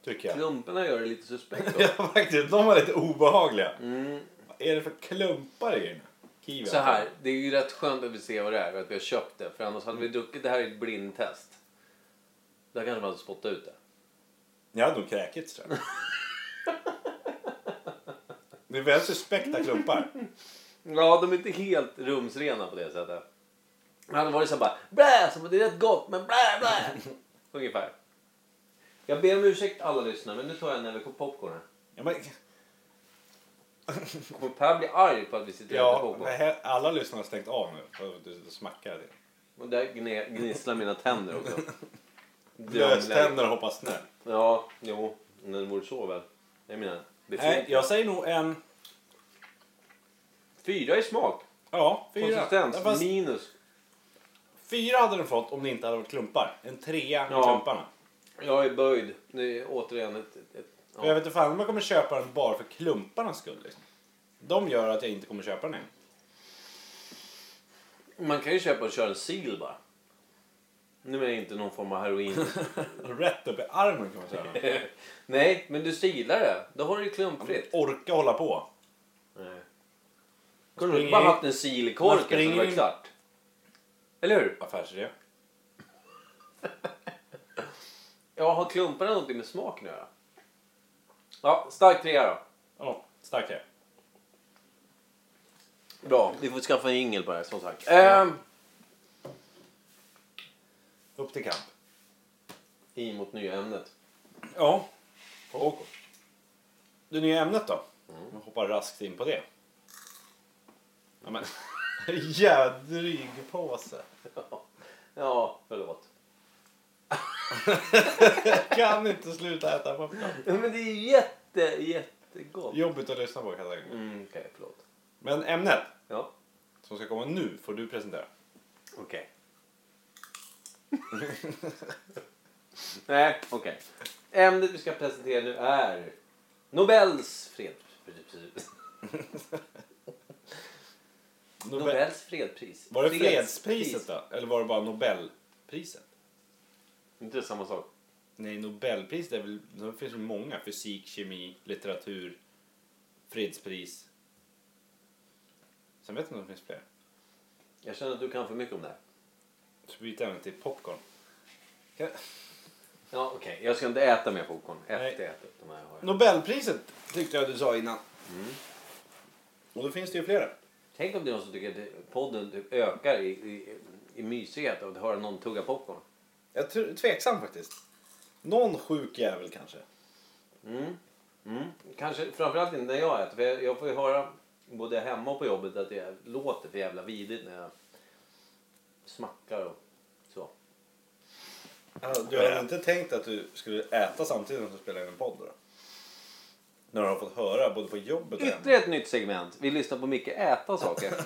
Speaker 1: Tycker jag.
Speaker 2: Klumparna gör det lite suspekt. då.
Speaker 1: Ja, faktiskt. De var lite obehagliga. Mm. Vad är det för klumpar i den? Kiwi,
Speaker 2: Så här, det är ju rätt skönt att vi ser vad det är och att vi har köpt det. För annars hade vi druckit det här i ett blindtest. Där kanske man hade spottat ut det.
Speaker 1: Jag hade nog kräkits tror jag. Det är väldigt suspekta klumpar.
Speaker 2: Ja, de är inte helt rumsrena på det sättet. Det hade varit så här bara blä, som att det är rätt gott men blä, blä. Ungefär. Jag ber om ursäkt alla lyssnare men nu tar jag en näve popcorn här.
Speaker 1: Ja, men,
Speaker 2: Kommer Per bli arg på att vi sitter och äter
Speaker 1: ja,
Speaker 2: popcorn?
Speaker 1: men här- alla lyssnare har stängt av nu. för att Du smackar det.
Speaker 2: Och där gn- gnisslar mina tänder också.
Speaker 1: Löständer och hoppas snö.
Speaker 2: Ja, jo. När det vore så väl. Jag menar, det
Speaker 1: Nej,
Speaker 2: är
Speaker 1: jag säger nog en...
Speaker 2: Fyra i smak.
Speaker 1: Ja, fyra.
Speaker 2: Konsistens
Speaker 1: Ja, fast
Speaker 2: minus.
Speaker 1: Fyra hade den fått om det inte hade varit klumpar. En trea med
Speaker 2: Ja.
Speaker 1: klumparna.
Speaker 2: Jag är böjd. Det är återigen ett... ett, ett
Speaker 1: För jag
Speaker 2: ja.
Speaker 1: vet inte fan om jag kommer köpa den bara för klumparnas skull. Liksom. De gör att jag inte kommer köpa den än.
Speaker 2: Man kan ju köpa och köra en sil bara. Nu är jag inte någon form av heroin.
Speaker 1: Rätt upp i armen kan man säga.
Speaker 2: Nej, men du silar det. Då har du ju klumpfritt.
Speaker 1: Orka hålla på.
Speaker 2: Nej. Kunde du
Speaker 1: Springer
Speaker 2: bara
Speaker 1: in-
Speaker 2: haft en sil i korken
Speaker 1: Man
Speaker 2: så det
Speaker 1: springer
Speaker 2: var
Speaker 1: in-
Speaker 2: klart? Eller hur?
Speaker 1: Affärsidé.
Speaker 2: Ja, har klumparna någonting med smaken att göra? Ja, stark trea då.
Speaker 1: Ja, starkt det.
Speaker 2: Bra, vi får skaffa en jingel på det här som sagt. Ehm,
Speaker 1: Upp till kamp.
Speaker 2: I mot nya ämnet.
Speaker 1: Ja. Och det nya ämnet då? Man hoppar raskt in på det. Ja, men. Jädrig påse.
Speaker 2: Ja, förlåt.
Speaker 1: Kan inte sluta äta popcorn.
Speaker 2: Ja, Men det är jätte, jättegott.
Speaker 1: Jobbigt att lyssna på kan jag tänka mig.
Speaker 2: Mm, Okej, förlåt.
Speaker 1: Men ämnet
Speaker 2: Ja,
Speaker 1: som ska komma nu får du presentera.
Speaker 2: okej. Nej, okej. Ämnet vi ska presentera nu är Nobels fredspris.
Speaker 1: Nobel...
Speaker 2: Nobels fredspris.
Speaker 1: Var det fredspriset då? Eller var det bara Nobelpriset?
Speaker 2: Inte det samma sak.
Speaker 1: Nej, Nobelpriset är väl... Det finns väl många. Fysik, kemi, litteratur, fredspris. Sen vet jag inte om det finns fler.
Speaker 2: Jag känner att du kan för mycket om det här.
Speaker 1: Så byter ämne till popcorn. Kan...
Speaker 2: Ja, okej. Jag ska inte äta mer popcorn
Speaker 1: Nej.
Speaker 2: efter jag ätit de här. Har jag.
Speaker 1: Nobelpriset tyckte jag du sa innan. Och då finns det ju flera.
Speaker 2: Tänk om det är någon som tycker att det- podden typ ökar i, i, i mysighet av att höra någon tugga popcorn.
Speaker 1: Jag tror, tveksam faktiskt. Någon sjuk jävel kanske.
Speaker 2: Mm. Mm. Kanske framförallt inte när jag äter. För jag, jag får ju höra både hemma och på jobbet att det låter för jävla vidigt när jag smackar och så.
Speaker 1: Du hade inte tänkt att du skulle äta samtidigt som du spelar in en podd då? När du har fått höra både på jobbet och hemma.
Speaker 2: Ytterligare ett nytt segment. Vi lyssnar på Micke äta saker.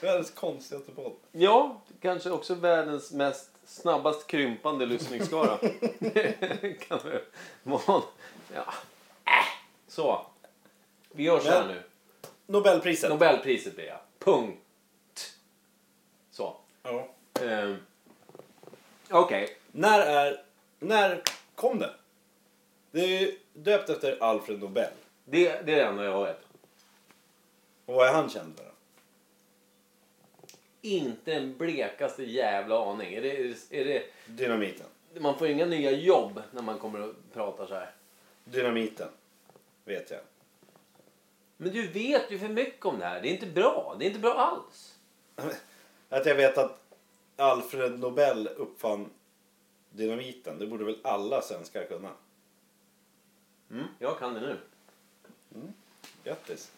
Speaker 1: Världens konstigaste podd.
Speaker 2: ja, kanske också världens mest snabbast krympande lyssningsskara. kan du? Mån. Ja. Äh. Så. Vi gör så här nu.
Speaker 1: Nobelpriset.
Speaker 2: Nobelpriset blir jag. Punkt. Så.
Speaker 1: ja.
Speaker 2: Eh, Okej.
Speaker 1: När är... När kom det? Det är ju döpt efter Alfred Nobel.
Speaker 2: Det, det är det enda jag vet.
Speaker 1: Och vad är han känd för? då?
Speaker 2: Inte den blekaste jävla aning. Är det, är det,
Speaker 1: Dynamiten.
Speaker 2: man får inga nya jobb när man kommer och pratar så här.
Speaker 1: Dynamiten. Vet jag.
Speaker 2: Men du vet ju för mycket om det här. Det är inte bra. Det är inte bra alls.
Speaker 1: Att jag vet att Alfred Nobel uppfann dynamiten. Det borde väl alla svenskar kunna.
Speaker 2: Jag kan det nu.
Speaker 1: Grattis.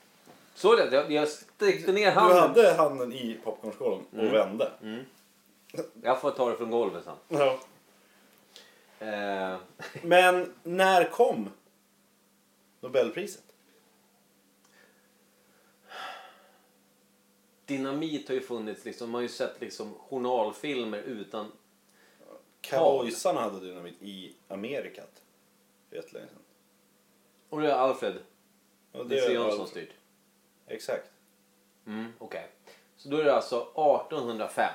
Speaker 2: Så är det. Jag, jag sträckte ner
Speaker 1: Du
Speaker 2: handen.
Speaker 1: hade handen i popcornskålen och
Speaker 2: Mm.
Speaker 1: vände.
Speaker 2: Jag får ta det från golvet sen.
Speaker 1: Ja.
Speaker 2: Eh,
Speaker 1: Men när kom Nobelpriset?
Speaker 2: dynamit har ju funnits. Liksom, man har ju sett liksom, journalfilmer utan...
Speaker 1: Cowboysarna hade dynamit i Amerikat. För jättelänge sedan.
Speaker 2: Och det är Alfred.
Speaker 1: Och
Speaker 2: Det är
Speaker 1: var-
Speaker 2: jag som styrt.
Speaker 1: Exakt.
Speaker 2: Mm, Okej. Så då är det alltså 1805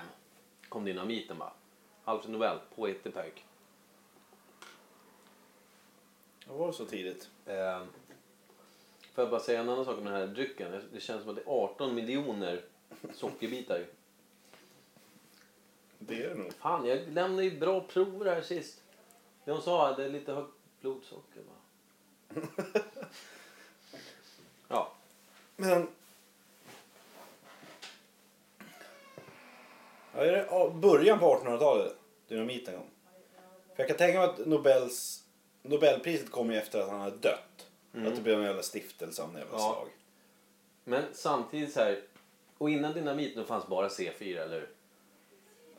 Speaker 2: kom dynamiten va? Alfred Nobel, poetepöjk.
Speaker 1: Det var så tidigt.
Speaker 2: Eh, får jag bara säga en annan sak om den här drycken? Det- Det känns som att det är 18 miljoner sockerbitar. i.
Speaker 1: Det är det nog.
Speaker 2: Fan, jag lämnade ju bra prover här sist. De sa att det är lite högt blodsocker va? ja.
Speaker 1: Men... Ja, är det ja, början på 1800-talet dynamiten kom? För jag kan tänka mig att Nobels, Nobelpriset kom ju efter att han hade dött. Att det blev en jävla stiftelse av något jävla
Speaker 2: Ja.
Speaker 1: slag.
Speaker 2: Men samtidigt så här. Och innan dynamiten fanns bara C4 eller hur?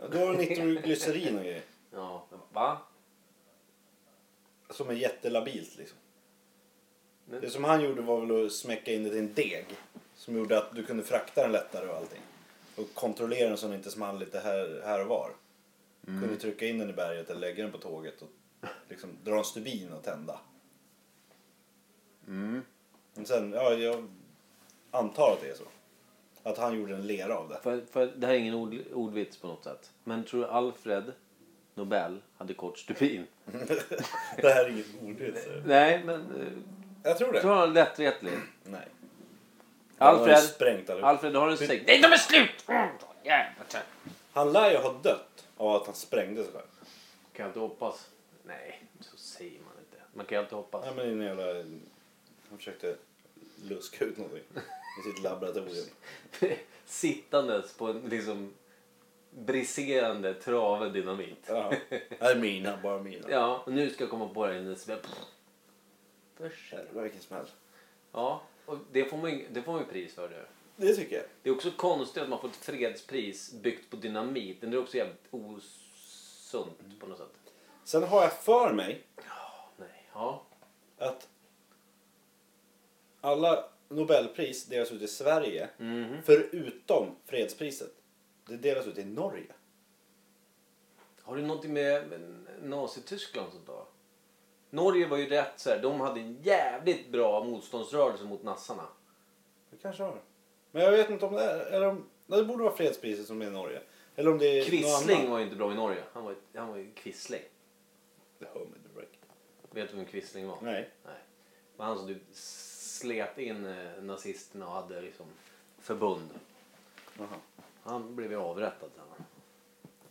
Speaker 1: Ja, Då var det nitroglycerin och grejer.
Speaker 2: Ja. Va?
Speaker 1: Som är jättelabilt liksom.
Speaker 2: Men-
Speaker 1: Det som han gjorde var väl att smäcka in det i en deg. Som gjorde att du kunde frakta den lättare och allting. Och kontrollera den så den inte small lite här, här och var. Kunde trycka in den i berget eller lägga den på tåget och liksom dra en stubin och tända. Men sen, ja jag antar att det är så. Att han gjorde en lera av det.
Speaker 2: För, för, det här är ingen ord, ordvits på något sätt. Men tror du Alfred Nobel hade kort stubin?
Speaker 1: det här är inget ordvits.
Speaker 2: Nej, men eh,
Speaker 1: Jag tror det.
Speaker 2: tror han lättretlig.
Speaker 1: Nej. Han har ju
Speaker 2: Alfred,
Speaker 1: sprängt allihopa.
Speaker 2: Alfred, har du en säng? Nej, de är slut! Mm, så jävla trött.
Speaker 1: Han lär ju ha dött av att han sprängde sig själv.
Speaker 2: Kan jag inte hoppas? Nej, så säger man inte. Man kan ju alltid hoppas.
Speaker 1: Nej men det är en jävla... Han försökte luska ut någonting i sitt laboratorium.
Speaker 2: Sittandes på en liksom briserande trave dynamit.
Speaker 1: Ja. Det är mina, bara mina.
Speaker 2: Ja, och nu ska jag komma på det innan det Införsel.
Speaker 1: Jävlar vilken smäll.
Speaker 2: Ja, och det får man ju det får man ju pris för nu.
Speaker 1: Det tycker jag.
Speaker 2: Det är också konstigt att man får ett fredspris byggt på dynamit. Men det är också jävligt
Speaker 1: Mm.
Speaker 2: osunt på något sätt.
Speaker 1: Sen har jag för mig
Speaker 2: Nej, ja.
Speaker 1: att alla Nobelpris delas ut i Sverige
Speaker 2: Mhm.
Speaker 1: förutom fredspriset. Det delas ut i Norge.
Speaker 2: Har det någonting med Nazityskland och sånt då? Norge var ju rätt så här. De hade en jävligt bra motståndsrörelse mot nassarna.
Speaker 1: Det kanske har. Men jag vet inte om det är... Eller om, nej, det borde vara fredspriset som är i Norge. Eller om det är någon
Speaker 2: Quisling
Speaker 1: annan.
Speaker 2: var ju inte bra i Norge. Han var ju, han var ju Quisling.
Speaker 1: Det hör man inte direkt.
Speaker 2: Vet du vem Quisling var?
Speaker 1: Nej.
Speaker 2: Nej. Men han som du slet in eh, nazisterna och hade liksom förbund.
Speaker 1: Jaha.
Speaker 2: Han blev ju avrättad sen.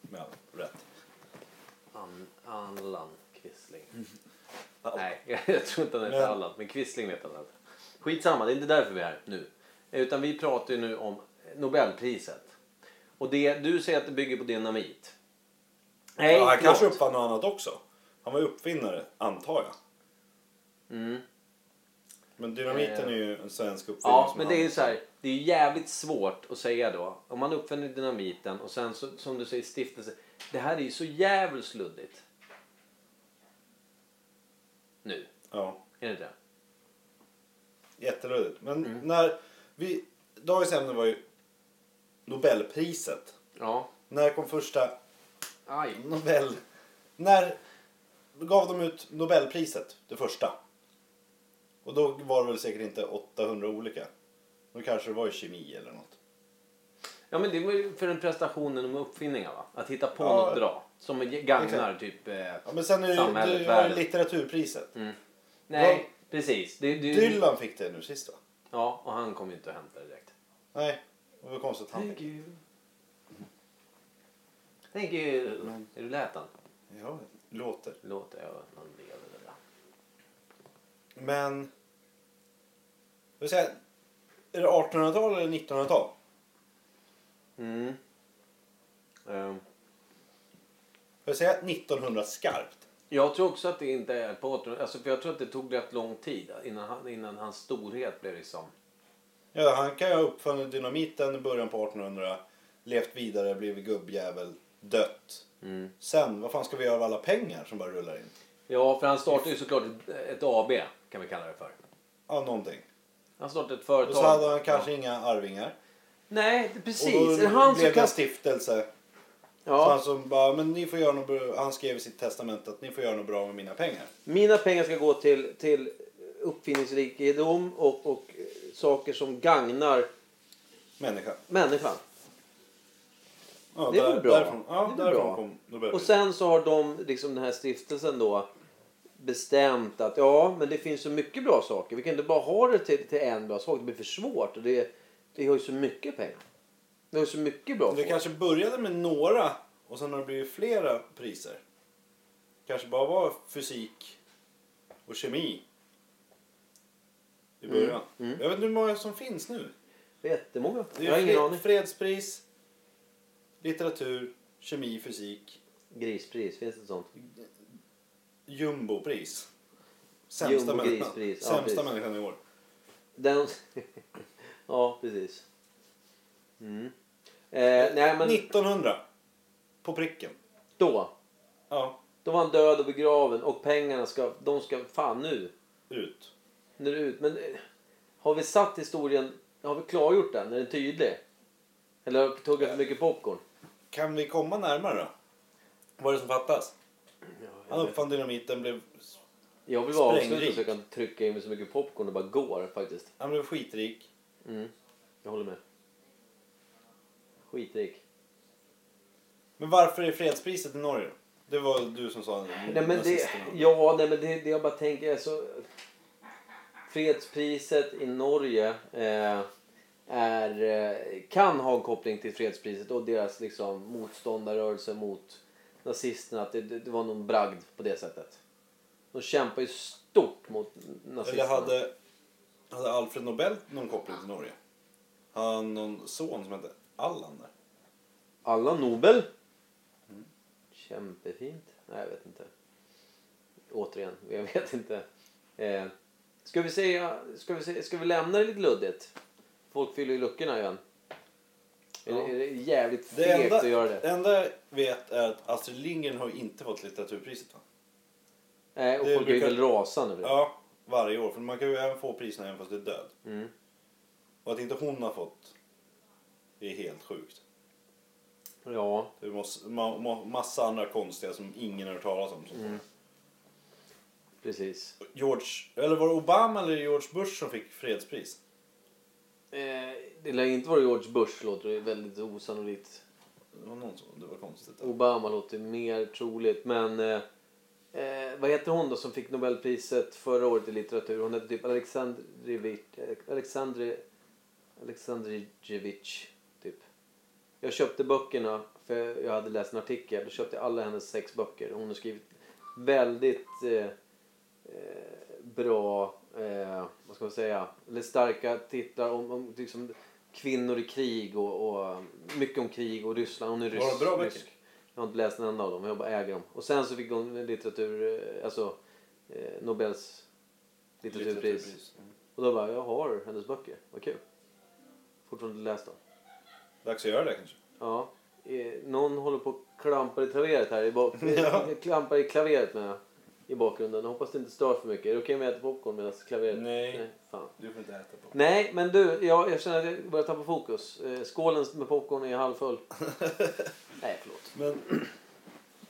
Speaker 1: Med all rätt.
Speaker 2: An, Allan Quisling. Nej, jag tror inte han heter
Speaker 1: Mm. Men-
Speaker 2: Allan. Men Quisling vet han att. Skitsamma, det är inte därför vi är här nu. Utan vi pratar ju nu om Nobelpriset. Och det, du säger att det bygger på dynamit. Nej,
Speaker 1: ja, han
Speaker 2: förlåt.
Speaker 1: kanske uppfann något annat också. Han var ju uppfinnare, antar jag.
Speaker 2: Mm.
Speaker 1: Men dynamiten
Speaker 2: Eh.
Speaker 1: är ju en svensk uppfinning.
Speaker 2: Ja,
Speaker 1: som
Speaker 2: men det
Speaker 1: han-
Speaker 2: är ju så här. Det är ju jävligt svårt att säga då. Om man uppfinner dynamiten och sen så, som du säger stiftelse. Det här är ju så jävligt luddigt. Nu,
Speaker 1: Ja,
Speaker 2: är det inte det?
Speaker 1: jätteluddigt. Men
Speaker 2: Mm.
Speaker 1: när vi... Dagens ämne var ju Nobelpriset.
Speaker 2: Ja.
Speaker 1: När kom första
Speaker 2: Aj.
Speaker 1: Nobel... När gav de ut Nobelpriset, det första? Och då var det väl säkert inte 800 olika. Då kanske det var i kemi eller något.
Speaker 2: Ja men det var ju för en prestationen om uppfinningar va? Att hitta på
Speaker 1: Ja.
Speaker 2: något bra. Som gagnar
Speaker 1: Exakt.
Speaker 2: typ... Eh,
Speaker 1: Ja, men sen är det,
Speaker 2: Samhället,
Speaker 1: det var ju
Speaker 2: världen.
Speaker 1: litteraturpriset.
Speaker 2: nej, precis. Det, det,
Speaker 1: Dylan fick det nu sist va?
Speaker 2: Ja, och han kom ju inte och hämtade det direkt.
Speaker 1: Nej, det var konstigt att han fick.
Speaker 2: Thank you. Thank you. Är du lät han?
Speaker 1: Ja, det låter.
Speaker 2: Låter jag att han lever det där.
Speaker 1: Men... Jag vill säga, är det 1800-tal eller 1900-tal?
Speaker 2: Mm. Ehm,
Speaker 1: Jag vill säga 1900 skarpt.
Speaker 2: jag tror också att det inte är på 1800 alltså, för jag tror att det tog rätt lång tid innan, han, innan hans storhet blev liksom...
Speaker 1: Ja, han kan ju ha uppfunnit dynamiten i början på 1800, levt vidare, blivit gubbjävel, dött. Sen, vad fan ska vi göra av alla pengar som bara rullar in?
Speaker 2: Ja, för han startade ju såklart ett, ett AB kan vi kalla det för.
Speaker 1: Ja, någonting.
Speaker 2: Han startade ett företag.
Speaker 1: Och så hade han
Speaker 2: Ja.
Speaker 1: kanske inga arvingar.
Speaker 2: Nej, det-
Speaker 1: och då
Speaker 2: precis. Är det han som
Speaker 1: blev det
Speaker 2: kan...
Speaker 1: en stiftelse. Så han
Speaker 2: Ja,
Speaker 1: som bara, men ni får göra något bra. Han skrev i sitt testament att ni får göra något bra med mina pengar.
Speaker 2: mina pengar ska gå till, till uppfinningsrikedom och, och eh, saker som gagnar
Speaker 1: Människa.
Speaker 2: människan.
Speaker 1: Ja,
Speaker 2: Det är väl bra.
Speaker 1: Därifrån,
Speaker 2: Det är
Speaker 1: ja,
Speaker 2: väl
Speaker 1: därifrån
Speaker 2: bra.
Speaker 1: kom Nobelpriset.
Speaker 2: Och sen så har de, liksom den här stiftelsen då, bestämt att ja, men det finns så mycket bra saker. Vi kan inte bara ha det till, till en bra sak. Det blir för svårt. Och det, vi har ju så mycket pengar. Vi har ju så mycket bra
Speaker 1: Men Det
Speaker 2: folk.
Speaker 1: kanske började med några och sen har det blivit flera priser. kanske bara var fysik och kemi i
Speaker 2: Mm,
Speaker 1: början. Jag vet inte hur många som finns nu.
Speaker 2: Det är jättemånga.
Speaker 1: Det
Speaker 2: Jag har
Speaker 1: är
Speaker 2: ingen
Speaker 1: fred,
Speaker 2: aning.
Speaker 1: fredspris, litteratur, kemi, fysik,
Speaker 2: Grispris, finns det ett sånt?
Speaker 1: jumbopris. Sämsta, människan.
Speaker 2: Jumbo-grispris, ja,
Speaker 1: Sämsta
Speaker 2: precis.
Speaker 1: människan i år.
Speaker 2: Den... ja, precis. Mm. Eh, nej, men
Speaker 1: 1900 på pricken.
Speaker 2: då.
Speaker 1: Ja,
Speaker 2: Då var han död och begraven och pengarna ska... De ska... Fan nu.
Speaker 1: ut.
Speaker 2: Nu är det ut. Men eh, har vi satt historien... Har vi klargjort den? Är den tydlig? Eller har vi tuggat för mycket popcorn?
Speaker 1: Kan vi komma närmare då? Vad är det som fattas? Han
Speaker 2: Jag,
Speaker 1: uppfann dynamiten, blev
Speaker 2: jag vill bara
Speaker 1: sprängrik.
Speaker 2: avsluta så jag kan trycka in mig så mycket popcorn det bara går faktiskt.
Speaker 1: Han blev skitrik.
Speaker 2: Mm. Jag håller med. Skitrik.
Speaker 1: Men varför är fredspriset i Norge då? Det var du som sa
Speaker 2: Nej men det,
Speaker 1: nazisterna.
Speaker 2: ja, nej, men det, det jag bara tänker är så... Fredspriset i Norge eh, är, eh, kan ha en koppling till fredspriset och deras liksom, motståndarrörelse mot nazisterna. Att det, det det var någon bragd på det sättet. De kämpar ju stort mot nazisterna.
Speaker 1: Eller hade, hade Alfred Nobel någon koppling till Norge? Han hade någon son som hette Allan där.
Speaker 2: Alla Nobel. Kämpefint. Nej, jag vet inte. Återigen, jag vet inte. Eh, Ska vi säga, ska vi, säga, ska vi lämna det lite luddigt? Folk fyller ju luckorna igen. Är, det, är det jävligt
Speaker 1: Det
Speaker 2: fegt
Speaker 1: enda,
Speaker 2: att göra det?
Speaker 1: enda jag vet är att Astrid Lindgren har inte fått litteraturpriset va?
Speaker 2: Nej, Eh, och
Speaker 1: det
Speaker 2: folk är
Speaker 1: brukar-
Speaker 2: väl rasande. över det.
Speaker 1: Ja, varje år. För man kan ju även få priserna även fast du är död.
Speaker 2: Mm.
Speaker 1: Och att inte hon har fått det är helt sjukt.
Speaker 2: Ja,
Speaker 1: Det är måste, ma, ma, massa andra konstiga som ingen har hört talas om. som-
Speaker 2: precis.
Speaker 1: George, eller var det Obama eller George Bush som fick fredspris?
Speaker 2: Eh, det lär inte vara George Bush, låter det väldigt osannolikt.
Speaker 1: Det var någon som, det var konstigt.
Speaker 2: Obama låter mer troligt, men... Eh, eh, vad heter hon då som fick Nobelpriset förra året i litteratur? Hon hette typ Alexandrivich... Alexandri, Alexandrijevich, typ. Jag köpte böckerna, för jag hade läst en artikel. Då köpte jag alla hennes sex böcker. Hon har skrivit väldigt eh, eh, bra, eh, vad ska man säga, eller starka titlar om, om liksom, kvinnor i krig och, och mycket om krig och Ryssland. Hon är rysk.
Speaker 1: Var det bra böcker?
Speaker 2: rysk. Jag har inte läst en enda av dem, jag bara äger dem. Och sen så fick hon litteratur, eh, alltså eh, Nobels litteraturpris.
Speaker 1: Mm.
Speaker 2: Och då bara, jag har hennes böcker, vad kul. Fortfarande inte läst dem.
Speaker 1: Dags att göra det kanske.
Speaker 2: Ja, eh, någon håller på och klampar i klaveret här. I bak- eh, Klampar i klaveret med i bakgrunden. Jag hoppas det inte stör för mycket. Är det okej om jag äter popcorn medan klaveret...
Speaker 1: Nej.
Speaker 2: fan.
Speaker 1: Du får inte äta på.
Speaker 2: Nej, men du, jag, jag känner att jag börjar tappa fokus. Eh, Skålen med popcorn är halvfull. Nej, förlåt.
Speaker 1: Men,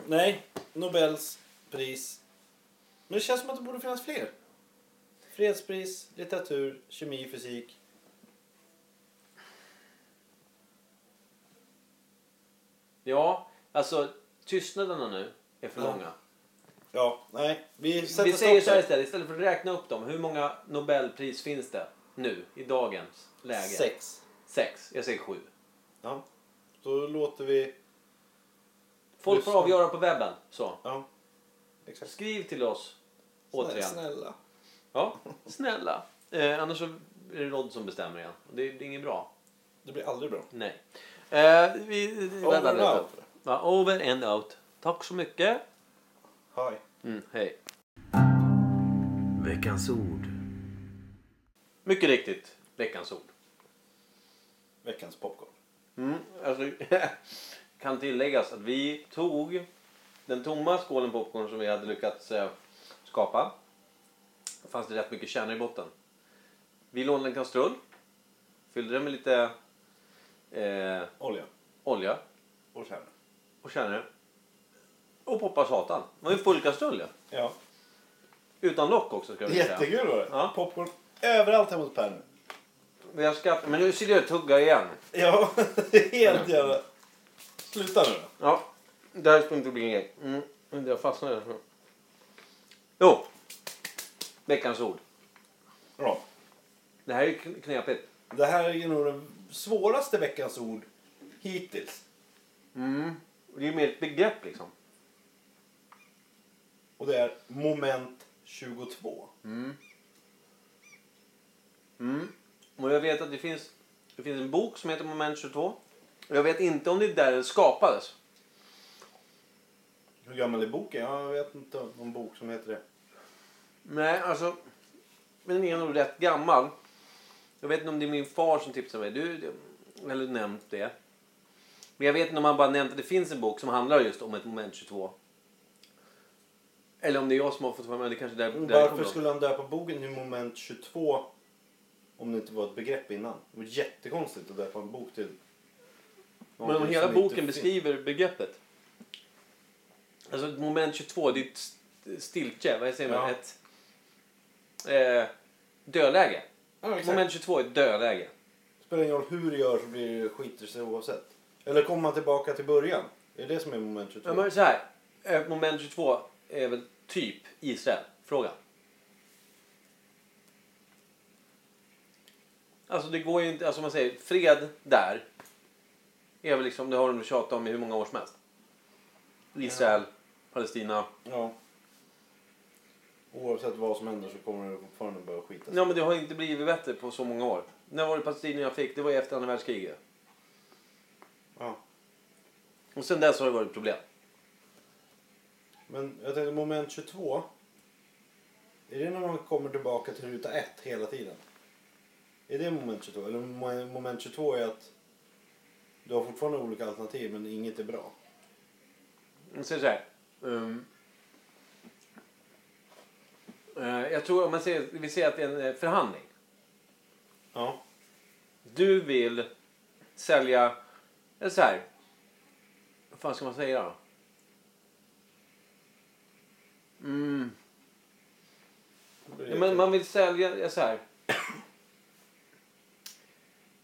Speaker 1: nej. Nobels pris. Men det känns som att det borde finnas fler. Fredspris, litteratur, kemi, fysik.
Speaker 2: Ja, alltså tystnaderna nu är för
Speaker 1: Ja.
Speaker 2: långa.
Speaker 1: Ja, nej. Vi sätter
Speaker 2: Vi säger
Speaker 1: stopp
Speaker 2: så här
Speaker 1: där.
Speaker 2: istället, istället för att räkna upp dem. Hur många Nobelpris finns det nu, i dagens läge?
Speaker 1: Sex.
Speaker 2: Sex. Jag säger sju.
Speaker 1: Ja. Då låter vi...
Speaker 2: Folk
Speaker 1: Just
Speaker 2: får
Speaker 1: det.
Speaker 2: avgöra på webben. Så.
Speaker 1: Ja. Exakt.
Speaker 2: Skriv till oss. Återigen.
Speaker 1: Snälla.
Speaker 2: Ja, snälla. Eh, annars så är det Rod som bestämmer igen. Och Det, det är inget bra.
Speaker 1: Det blir aldrig bra.
Speaker 2: Nej. Eh, vi,
Speaker 1: Over and out.
Speaker 2: Ja, over and out. Tack så mycket.
Speaker 1: Hej.
Speaker 2: Mm, hej. Veckans ord. Mycket riktigt. Veckans ord.
Speaker 1: Veckans popcorn.
Speaker 2: Mm, alltså, kan tilläggas att vi tog den tomma skålen popcorn som vi hade lyckats eh, skapa. Det fanns det rätt mycket kärnor i botten. Vi lånade en kastrull. Fyllde den med lite eh,
Speaker 1: Olja.
Speaker 2: olja
Speaker 1: Och kärna.
Speaker 2: och kärnor. Och poppar satan. Det var ju en full kastrull ja.
Speaker 1: Ja.
Speaker 2: Utan lock också ska jag vilja säga.
Speaker 1: Jättekul var det.
Speaker 2: Ja.
Speaker 1: Popcorn överallt hemma hos Per nu.
Speaker 2: Vi har skaffat- Men nu sitter jag och tuggar igen.
Speaker 1: Ja, helt jävla... Sluta nu då.
Speaker 2: Ja, det här skulle inte bli en grej. Mm, men jag fastnade där. Jo, veckans ord.
Speaker 1: Bra.
Speaker 2: Det här är ju kn- knepigt.
Speaker 1: Det här är ju nog den svåraste veckans ord hittills.
Speaker 2: Det är ju mer ett begrepp liksom.
Speaker 1: Och det är moment 22.
Speaker 2: Och jag vet att det finns, det finns en bok som heter Moment 22. Och jag vet inte om det är där den skapades.
Speaker 1: Hur gammal är boken? Jag vet inte om någon bok som heter det.
Speaker 2: Nej, alltså. Men den är nog rätt gammal. Jag vet inte om det är min far som tipsade mig. Du, du- eller nämnt det. Men jag vet inte om han bara nämnt att det finns en bok som handlar just om ett moment 22. Eller om det är jag som har fått för mig. Det kanske är där, där det
Speaker 1: Varför
Speaker 2: kommer
Speaker 1: skulle han döpa boken till moment 22 om det inte var ett begrepp innan? Det var jättekonstigt att döpa en bok till...
Speaker 2: ifrån. Men om
Speaker 1: någonting
Speaker 2: hela
Speaker 1: som inte
Speaker 2: boken
Speaker 1: finns.
Speaker 2: beskriver begreppet. Alltså ett moment 22, det är ett st- stiltje. Vad säger man?
Speaker 1: Ja.
Speaker 2: Ett eh, dödläge.
Speaker 1: Ja, exakt.
Speaker 2: Moment 22 är ett dödläge.
Speaker 1: spelar ingen roll hur du gör så blir det skiter sig oavsett. Eller kommer man tillbaka till början? Det är det som är moment 22.
Speaker 2: Ja, men så här. Eh, Moment 22 är väl typ Israel? Fråga. Alltså det går ju inte, alltså man säger fred där. Är väl liksom, det har de tjatat om i hur många år som helst. Israel, Palestina.
Speaker 1: Ja. Oavsett vad som händer så kommer det fortfarande börja skita sig.
Speaker 2: Ja men det har inte blivit bättre på så många år. När var det Palestina jag fick? Det var ju efter andra världskriget.
Speaker 1: Ja.
Speaker 2: Och sen dess har det varit problem.
Speaker 1: Men jag tänkte moment 22. Är det när man kommer tillbaka till ruta ett hela tiden? Är det moment 22? Eller mo- moment 22 är att du har fortfarande olika alternativ men inget är bra.
Speaker 2: Jag säger så här. Um, eh, jag tror om man säger, vi säger att det är en eh, förhandling.
Speaker 1: Ja.
Speaker 2: Du vill sälja, eller så här. Vad fan ska man säga då? Mm. Ja,
Speaker 1: typ-
Speaker 2: men man vill sälja, ja, så här.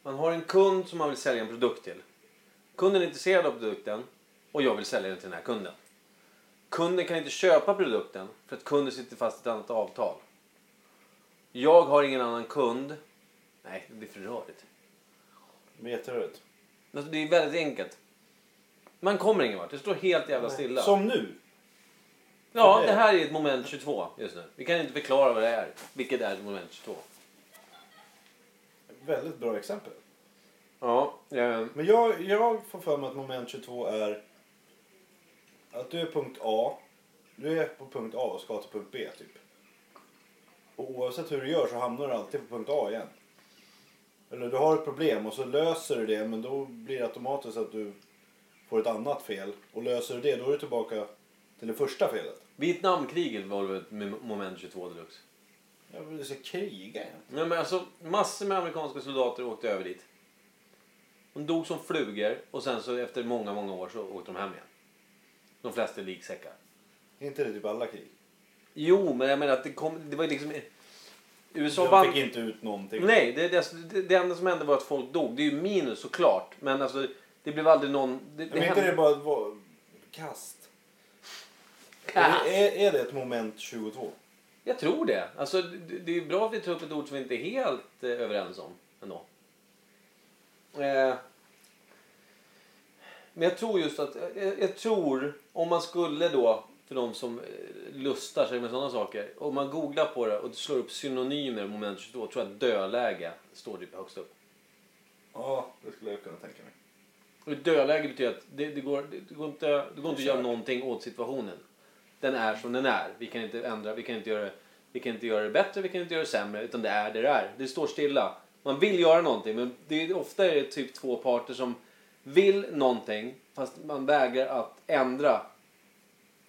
Speaker 2: Man har en kund som man vill sälja en produkt till. Kunden är intresserad av produkten och jag vill sälja den till den här kunden. Kunden kan inte köpa produkten för att kunden sitter fast i ett annat avtal. Jag har ingen annan kund. Nej, det blir för rörigt.
Speaker 1: Det blir jätterörigt.
Speaker 2: Alltså, det är väldigt enkelt. Man kommer ingen vart. Det står helt jävla stilla.
Speaker 1: Som nu!
Speaker 2: Ja, det här är ett moment 22 just nu. Vi kan inte förklara vad det är. Vilket är ett moment 22.
Speaker 1: Väldigt bra exempel.
Speaker 2: Ja, eh,
Speaker 1: Men jag, jag får för mig att moment 22 är att du är punkt A, du är på punkt A och ska till punkt B typ. Och oavsett hur du gör så hamnar du alltid på punkt A igen. Eller du har ett problem och så löser du det men då blir det automatiskt att du får ett annat fel. Och löser du det då är du tillbaka till det första felet.
Speaker 2: Vietnamkriget var väl ett mom- moment 22 deluxe.
Speaker 1: Jag vill säga kriga igen.
Speaker 2: Nej, men alltså, massor med amerikanska soldater åkte över dit. De dog som flugor och sen så efter många, många år så åkte de hem igen. De flesta i liksäckar.
Speaker 1: Är inte det typ alla krig?
Speaker 2: Jo, men jag menar att det kom, det var ju liksom... USA
Speaker 1: De
Speaker 2: vann...
Speaker 1: fick inte ut någonting.
Speaker 2: Nej, det, det, det, det enda som hände var att folk dog. Det är ju minus såklart. Men alltså, det blev aldrig någon... Det, det
Speaker 1: Men inte
Speaker 2: hände-
Speaker 1: det bara var kast?
Speaker 2: Kast.
Speaker 1: Är, är, är det ett moment 22?
Speaker 2: Jag tror det. Alltså, det, det är bra att vi tar upp ett ord som vi inte är helt eh, överens om ändå. Eh, men jag tror just att, jag, jag tror om man skulle då, för de som eh, lustar sig med sådana saker, om man googlar på det och slår upp synonymer moment 22, tror jag att dödläge står typ högst upp.
Speaker 1: Ja, det skulle jag kunna tänka mig.
Speaker 2: Och ett dödläge betyder att det, det, går, det, det går inte, det går inte att göra någonting åt situationen. Den är som den är. Vi kan inte ändra, vi kan inte göra, vi kan inte göra det bättre, vi kan inte göra det sämre. Utan det är det det är. Det står stilla. Man vill göra någonting men det är, ofta är det typ två parter som vill någonting fast man vägrar att ändra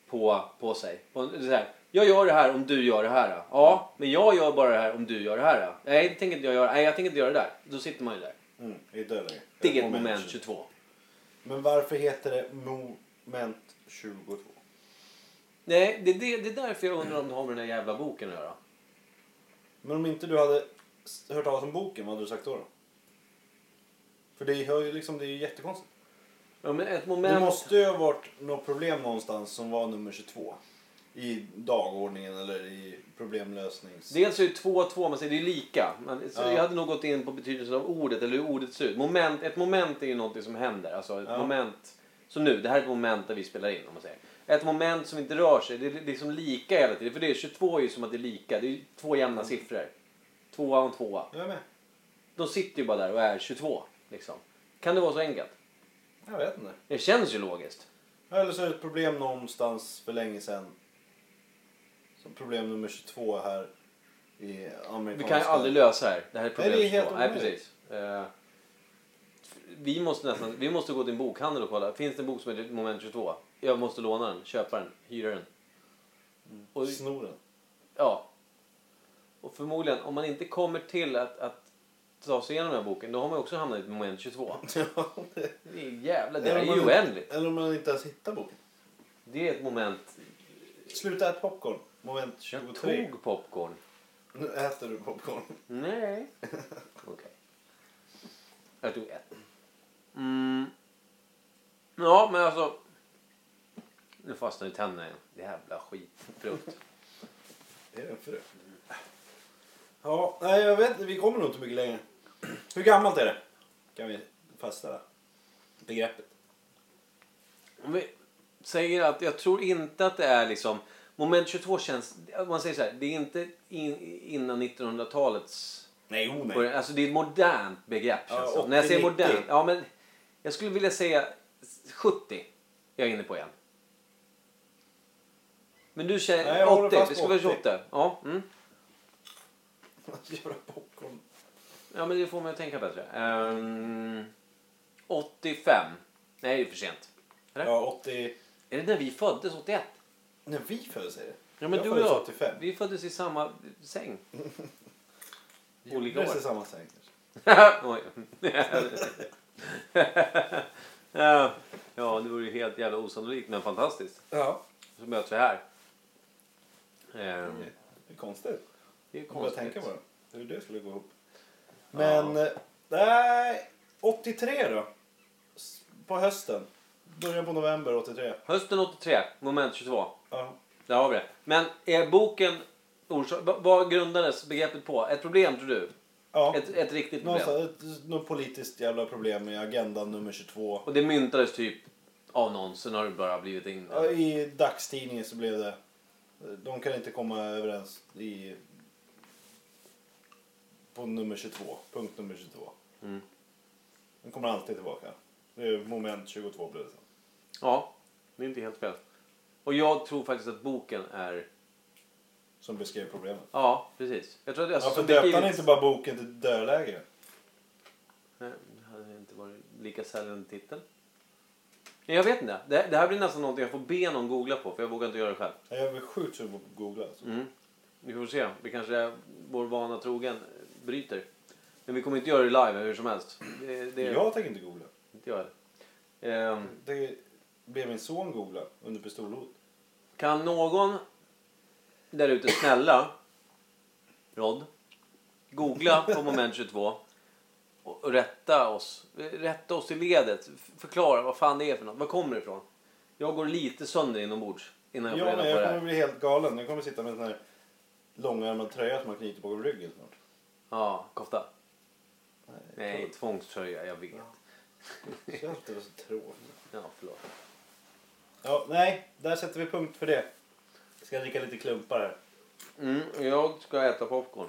Speaker 2: på, på sig. På, en- så här, jag gör det här om du gör det här. Ja, men jag gör bara det här om du gör det här. Nej, det tänker inte jag göra. Nej, jag tänker inte göra det där. Då sitter man ju där.
Speaker 1: Mm, I dödläge.
Speaker 2: Det är ett moment 22.
Speaker 1: Men varför heter det moment 22?
Speaker 2: Nej, det, det, det är därför jag undrar om det har med den här jävla boken att göra.
Speaker 1: Men om inte du hade s- hört talas om boken, vad hade du sagt då? då? För det är ju liksom, det är ju jättekonstigt.
Speaker 2: Ja, men ett
Speaker 1: Det
Speaker 2: moment...
Speaker 1: måste ju ha varit något problem någonstans som var nummer 22. I dagordningen eller i problemlösnings...
Speaker 2: Dels är det två och två, man säger det är lika. Men, så
Speaker 1: Ja.
Speaker 2: Jag hade nog gått in på betydelsen av ordet eller hur ordet ser ut. Moment, ett moment är ju någonting som händer. Alltså ett
Speaker 1: Ja.
Speaker 2: moment. Så nu, det här är ett moment där vi spelar in om man säger. Ett moment som inte rör sig, det är liksom lika hela tiden. För det är 22 är ju som att det är lika, det är ju två
Speaker 1: Mm.
Speaker 2: jämna siffror. Tvåa och tvåa.
Speaker 1: Jag är med.
Speaker 2: De sitter ju bara där och är 22. Liksom. Kan det vara så enkelt?
Speaker 1: Jag vet inte.
Speaker 2: Det känns ju logiskt.
Speaker 1: Eller så är det ett problem någonstans för länge sedan. Så problem nummer 22 här i
Speaker 2: Vi
Speaker 1: amerikanska...
Speaker 2: kan ju aldrig lösa det här. Det här är
Speaker 1: Nej,
Speaker 2: problem
Speaker 1: det är helt
Speaker 2: två. Nej,
Speaker 1: omöjligt.
Speaker 2: precis. Eh, vi måste nästan, vi måste gå till en bokhandel och kolla. Finns det en bok som heter Moment 22? Jag måste låna den, köpa den, hyra den. Och,
Speaker 1: Snor den.
Speaker 2: ja. och förmodligen, om man inte kommer till att, att ta sig igenom den här boken, då har man ju också hamnat i ett Moment 22. Det är jävla, det här är
Speaker 1: Eller om
Speaker 2: ju
Speaker 1: man-
Speaker 2: oändligt.
Speaker 1: Eller om man inte ens hittar boken.
Speaker 2: Det är ett moment.
Speaker 1: Sluta äta popcorn. Moment
Speaker 2: Jag
Speaker 1: 23.
Speaker 2: tog popcorn.
Speaker 1: Nu äter du popcorn.
Speaker 2: Nej. Okej. Jag tog ett. Mm. Ja, men alltså. Nu fastnar ju tänderna igen. Jävla skitfrukt.
Speaker 1: Det är en frö. Ja, nej jag vet inte. Vi kommer nog inte mycket längre. Hur gammalt är det? Kan vi fastställa. Begreppet.
Speaker 2: Om vi säger att jag tror inte att det är liksom. Moment 22 känns. om Man säger så här. Det är inte in, innan 1900-talets.
Speaker 1: Nej, o nej.
Speaker 2: början. Alltså det är ett modernt begrepp. Känns
Speaker 1: Ja,
Speaker 2: det som. När jag säger
Speaker 1: 80-90.
Speaker 2: modernt. Ja, men jag skulle vilja säga 70. Jag är inne på igen. Men du säger
Speaker 1: Nej, jag håller
Speaker 2: 80.
Speaker 1: fast
Speaker 2: Det
Speaker 1: på
Speaker 2: ska vara
Speaker 1: 80.
Speaker 2: 28. Ja, mm.
Speaker 1: Jävla popcorn.
Speaker 2: ja, men det får man ju tänka bättre. Ehm, 85. Nej, det är för sent.
Speaker 1: Ja, 80...
Speaker 2: Är det när vi föddes? 81?
Speaker 1: När vi föddes är det.
Speaker 2: Ja, men
Speaker 1: jag
Speaker 2: du och
Speaker 1: föddes
Speaker 2: jag,
Speaker 1: 85.
Speaker 2: vi föddes i samma säng. Olika
Speaker 1: Det är
Speaker 2: år.
Speaker 1: samma säng. kanske.
Speaker 2: Oj. ja, det vore ju helt jävla osannolikt men fantastiskt.
Speaker 1: Ja.
Speaker 2: Så möts vi här. Ehm,
Speaker 1: Det är konstigt.
Speaker 2: Det är
Speaker 1: Jag börjar tänka
Speaker 2: konstigt.
Speaker 1: på det. Hur det skulle gå ihop. Men... eh, Nej, 83 då. S- På hösten. Början på november 83.
Speaker 2: Hösten 83, moment 22.
Speaker 1: Ja.
Speaker 2: Där har vi det. Men är boken... orsak- va- Vad grundades begreppet på? Ett problem tror du?
Speaker 1: ja.
Speaker 2: Ett, ett riktigt problem.
Speaker 1: Någonstans, ett, något politiskt jävla problem med agendan nummer 22.
Speaker 2: Och det myntades typ av någon, sen har det bara blivit in.
Speaker 1: Ja, I dagstidningen så blev det... De kan inte komma överens i... På nummer 22. Punkt nummer 22.
Speaker 2: Mm.
Speaker 1: Den kommer alltid tillbaka. Det är moment 22 blev det sen.
Speaker 2: Ja, det är inte helt fel. Och jag tror faktiskt att boken är...
Speaker 1: Som beskrev problemet.
Speaker 2: Ja, precis. Jag tror att Alltså, det är
Speaker 1: Varför
Speaker 2: som
Speaker 1: döpte han
Speaker 2: beskrivits-
Speaker 1: inte bara boken till Dödläge?
Speaker 2: Nej, det hade inte varit lika säljande titel. Nej, jag vet inte. Det, det här blir nästan någonting jag får be någon googla på för jag vågar inte göra det själv.
Speaker 1: Jag är väl sjukt sugen på att googla. Alltså.
Speaker 2: Mm. Vi får se. Det kanske är vår vana trogen bryter. Men vi kommer inte göra det live hur som helst. Det, det,
Speaker 1: Jag tänker inte googla.
Speaker 2: Inte jag heller. Ehm,
Speaker 1: Det blev min son googla under pistolhot.
Speaker 2: kan någon där ute snälla, Rod, googla på moment 22 och och rätta oss. Rätta oss i ledet. F- Förklara vad fan det är för något. Var kommer det ifrån? Jag går lite sönder inombords innan jag får
Speaker 1: Ja,
Speaker 2: reda
Speaker 1: men
Speaker 2: på det
Speaker 1: jag kommer
Speaker 2: här.
Speaker 1: bli helt galen. Jag kommer sitta med en sån här långärmad tröja som man knyter bakom ryggen snart.
Speaker 2: Ja, kofta. Nej, tvångströja. Jag vet.
Speaker 1: Jag tycker alltid det var så tråkigt.
Speaker 2: Ja, förlåt.
Speaker 1: Ja, nej, där sätter vi punkt för det. Jag ska dricka lite klumpar här.
Speaker 2: Mm, jag ska äta popcorn.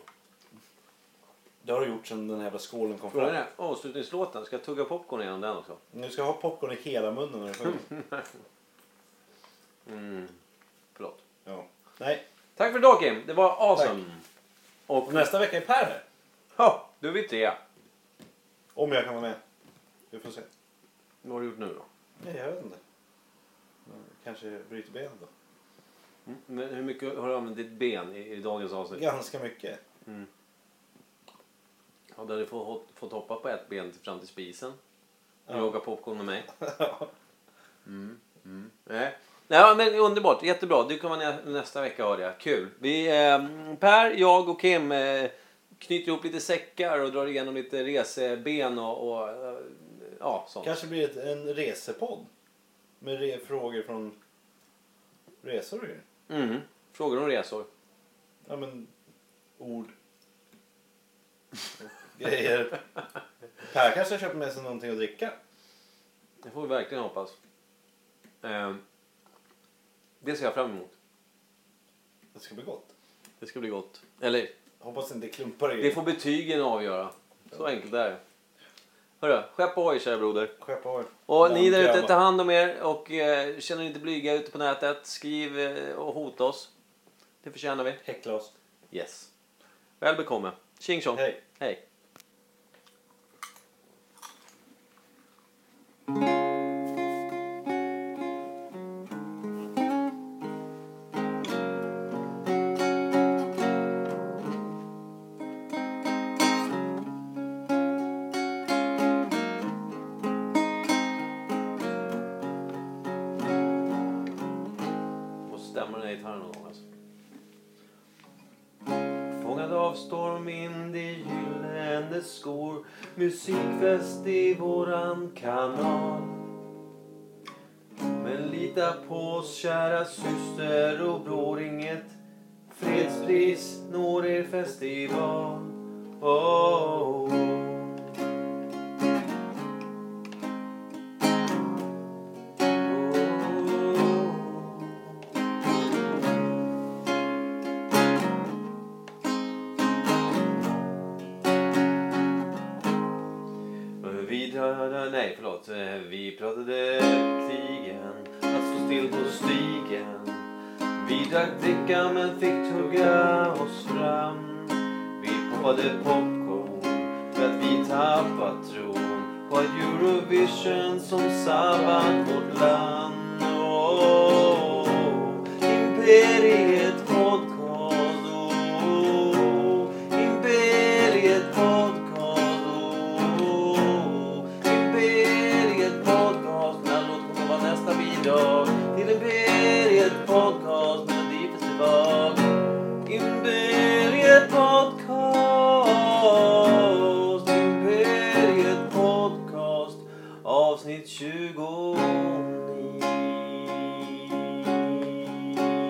Speaker 1: Det har du gjort sedan den här jävla skålen kom
Speaker 2: Frågan
Speaker 1: fram.
Speaker 2: är, avslutningslåten, ska jag tugga popcorn igenom den också?
Speaker 1: Nu ska jag ha popcorn i hela munnen när du sjunger.
Speaker 2: Mm. Förlåt.
Speaker 1: Ja. Nej,
Speaker 2: Tack för idag Kim, det var awesome.
Speaker 1: och nästa vecka är Per här.
Speaker 2: Ja, då är vi tre.
Speaker 1: Om jag kan vara med. Vi får se.
Speaker 2: Vad har du gjort nu då?
Speaker 1: Nej, jag vet inte. Kanske bryter benet då.
Speaker 2: Mm, Men hur mycket har du använt ditt ben i, i dagens avsnitt?
Speaker 1: Ganska mycket.
Speaker 2: Ja, du hade fått, fått hoppa på ett ben till- fram till spisen.
Speaker 1: Ja.
Speaker 2: Jaga popcorn med mig. Nej. Nej, men underbart. Jättebra. Du kommer nä- nästa vecka hörde jag. Kul. Vi, eh, per, jag och Kim eh, knyter ihop lite säckar och drar igenom lite reseben och, och eh, ja, sånt.
Speaker 1: Kanske blir det en resepodd. Med re- frågor från resor och grejer.
Speaker 2: Mm. Frågor om resor.
Speaker 1: Ja men ord. Grejer. Per kanske köper med sig någonting att dricka.
Speaker 2: Det får vi verkligen hoppas. Eh, det ser jag fram emot.
Speaker 1: Det ska bli gott.
Speaker 2: Det ska bli gott. Eller,
Speaker 1: Hoppas det inte är klumpar i.
Speaker 2: det får betygen avgöra. Så enkelt är det. Hörru, skepp ohoj kära broder.
Speaker 1: Skeppa av er.
Speaker 2: Och ni
Speaker 1: Bland
Speaker 2: där ute,
Speaker 1: grabbar.
Speaker 2: ta hand om er och eh, känner er inte blyga ute på nätet. Skriv eh, och hota oss. Det förtjänar vi.
Speaker 1: Häckla oss.
Speaker 2: Yes. Väl bekomme. Tjing tjong.
Speaker 1: Hej.
Speaker 2: Hej. Måste stämma den här gitarren någon gång alltså. Fångad av stormvind i gyllene skor Musikfest i våran kanal Men lita på oss kära syster och bror Inget fredspris når er festival oh. Oh. Vi pratade, nej förlåt, Eh, vi pratade krigen, att stå still på stigen. Vi drack dricka men fick tugga oss fram. Vi poppade popcorn för att vi tappat tron på att Eurovision som sabbat vårt land. Oh, Imperiet podcast. Oh, Imperiet podcast. Oh, Imperiet podcast. Den här låten kommer vara nästa bidrag till Imperiet podcast melodifestival. Imperiet podcast. Imperiet podcast. Avsnitt 29.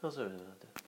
Speaker 2: Vad sa du?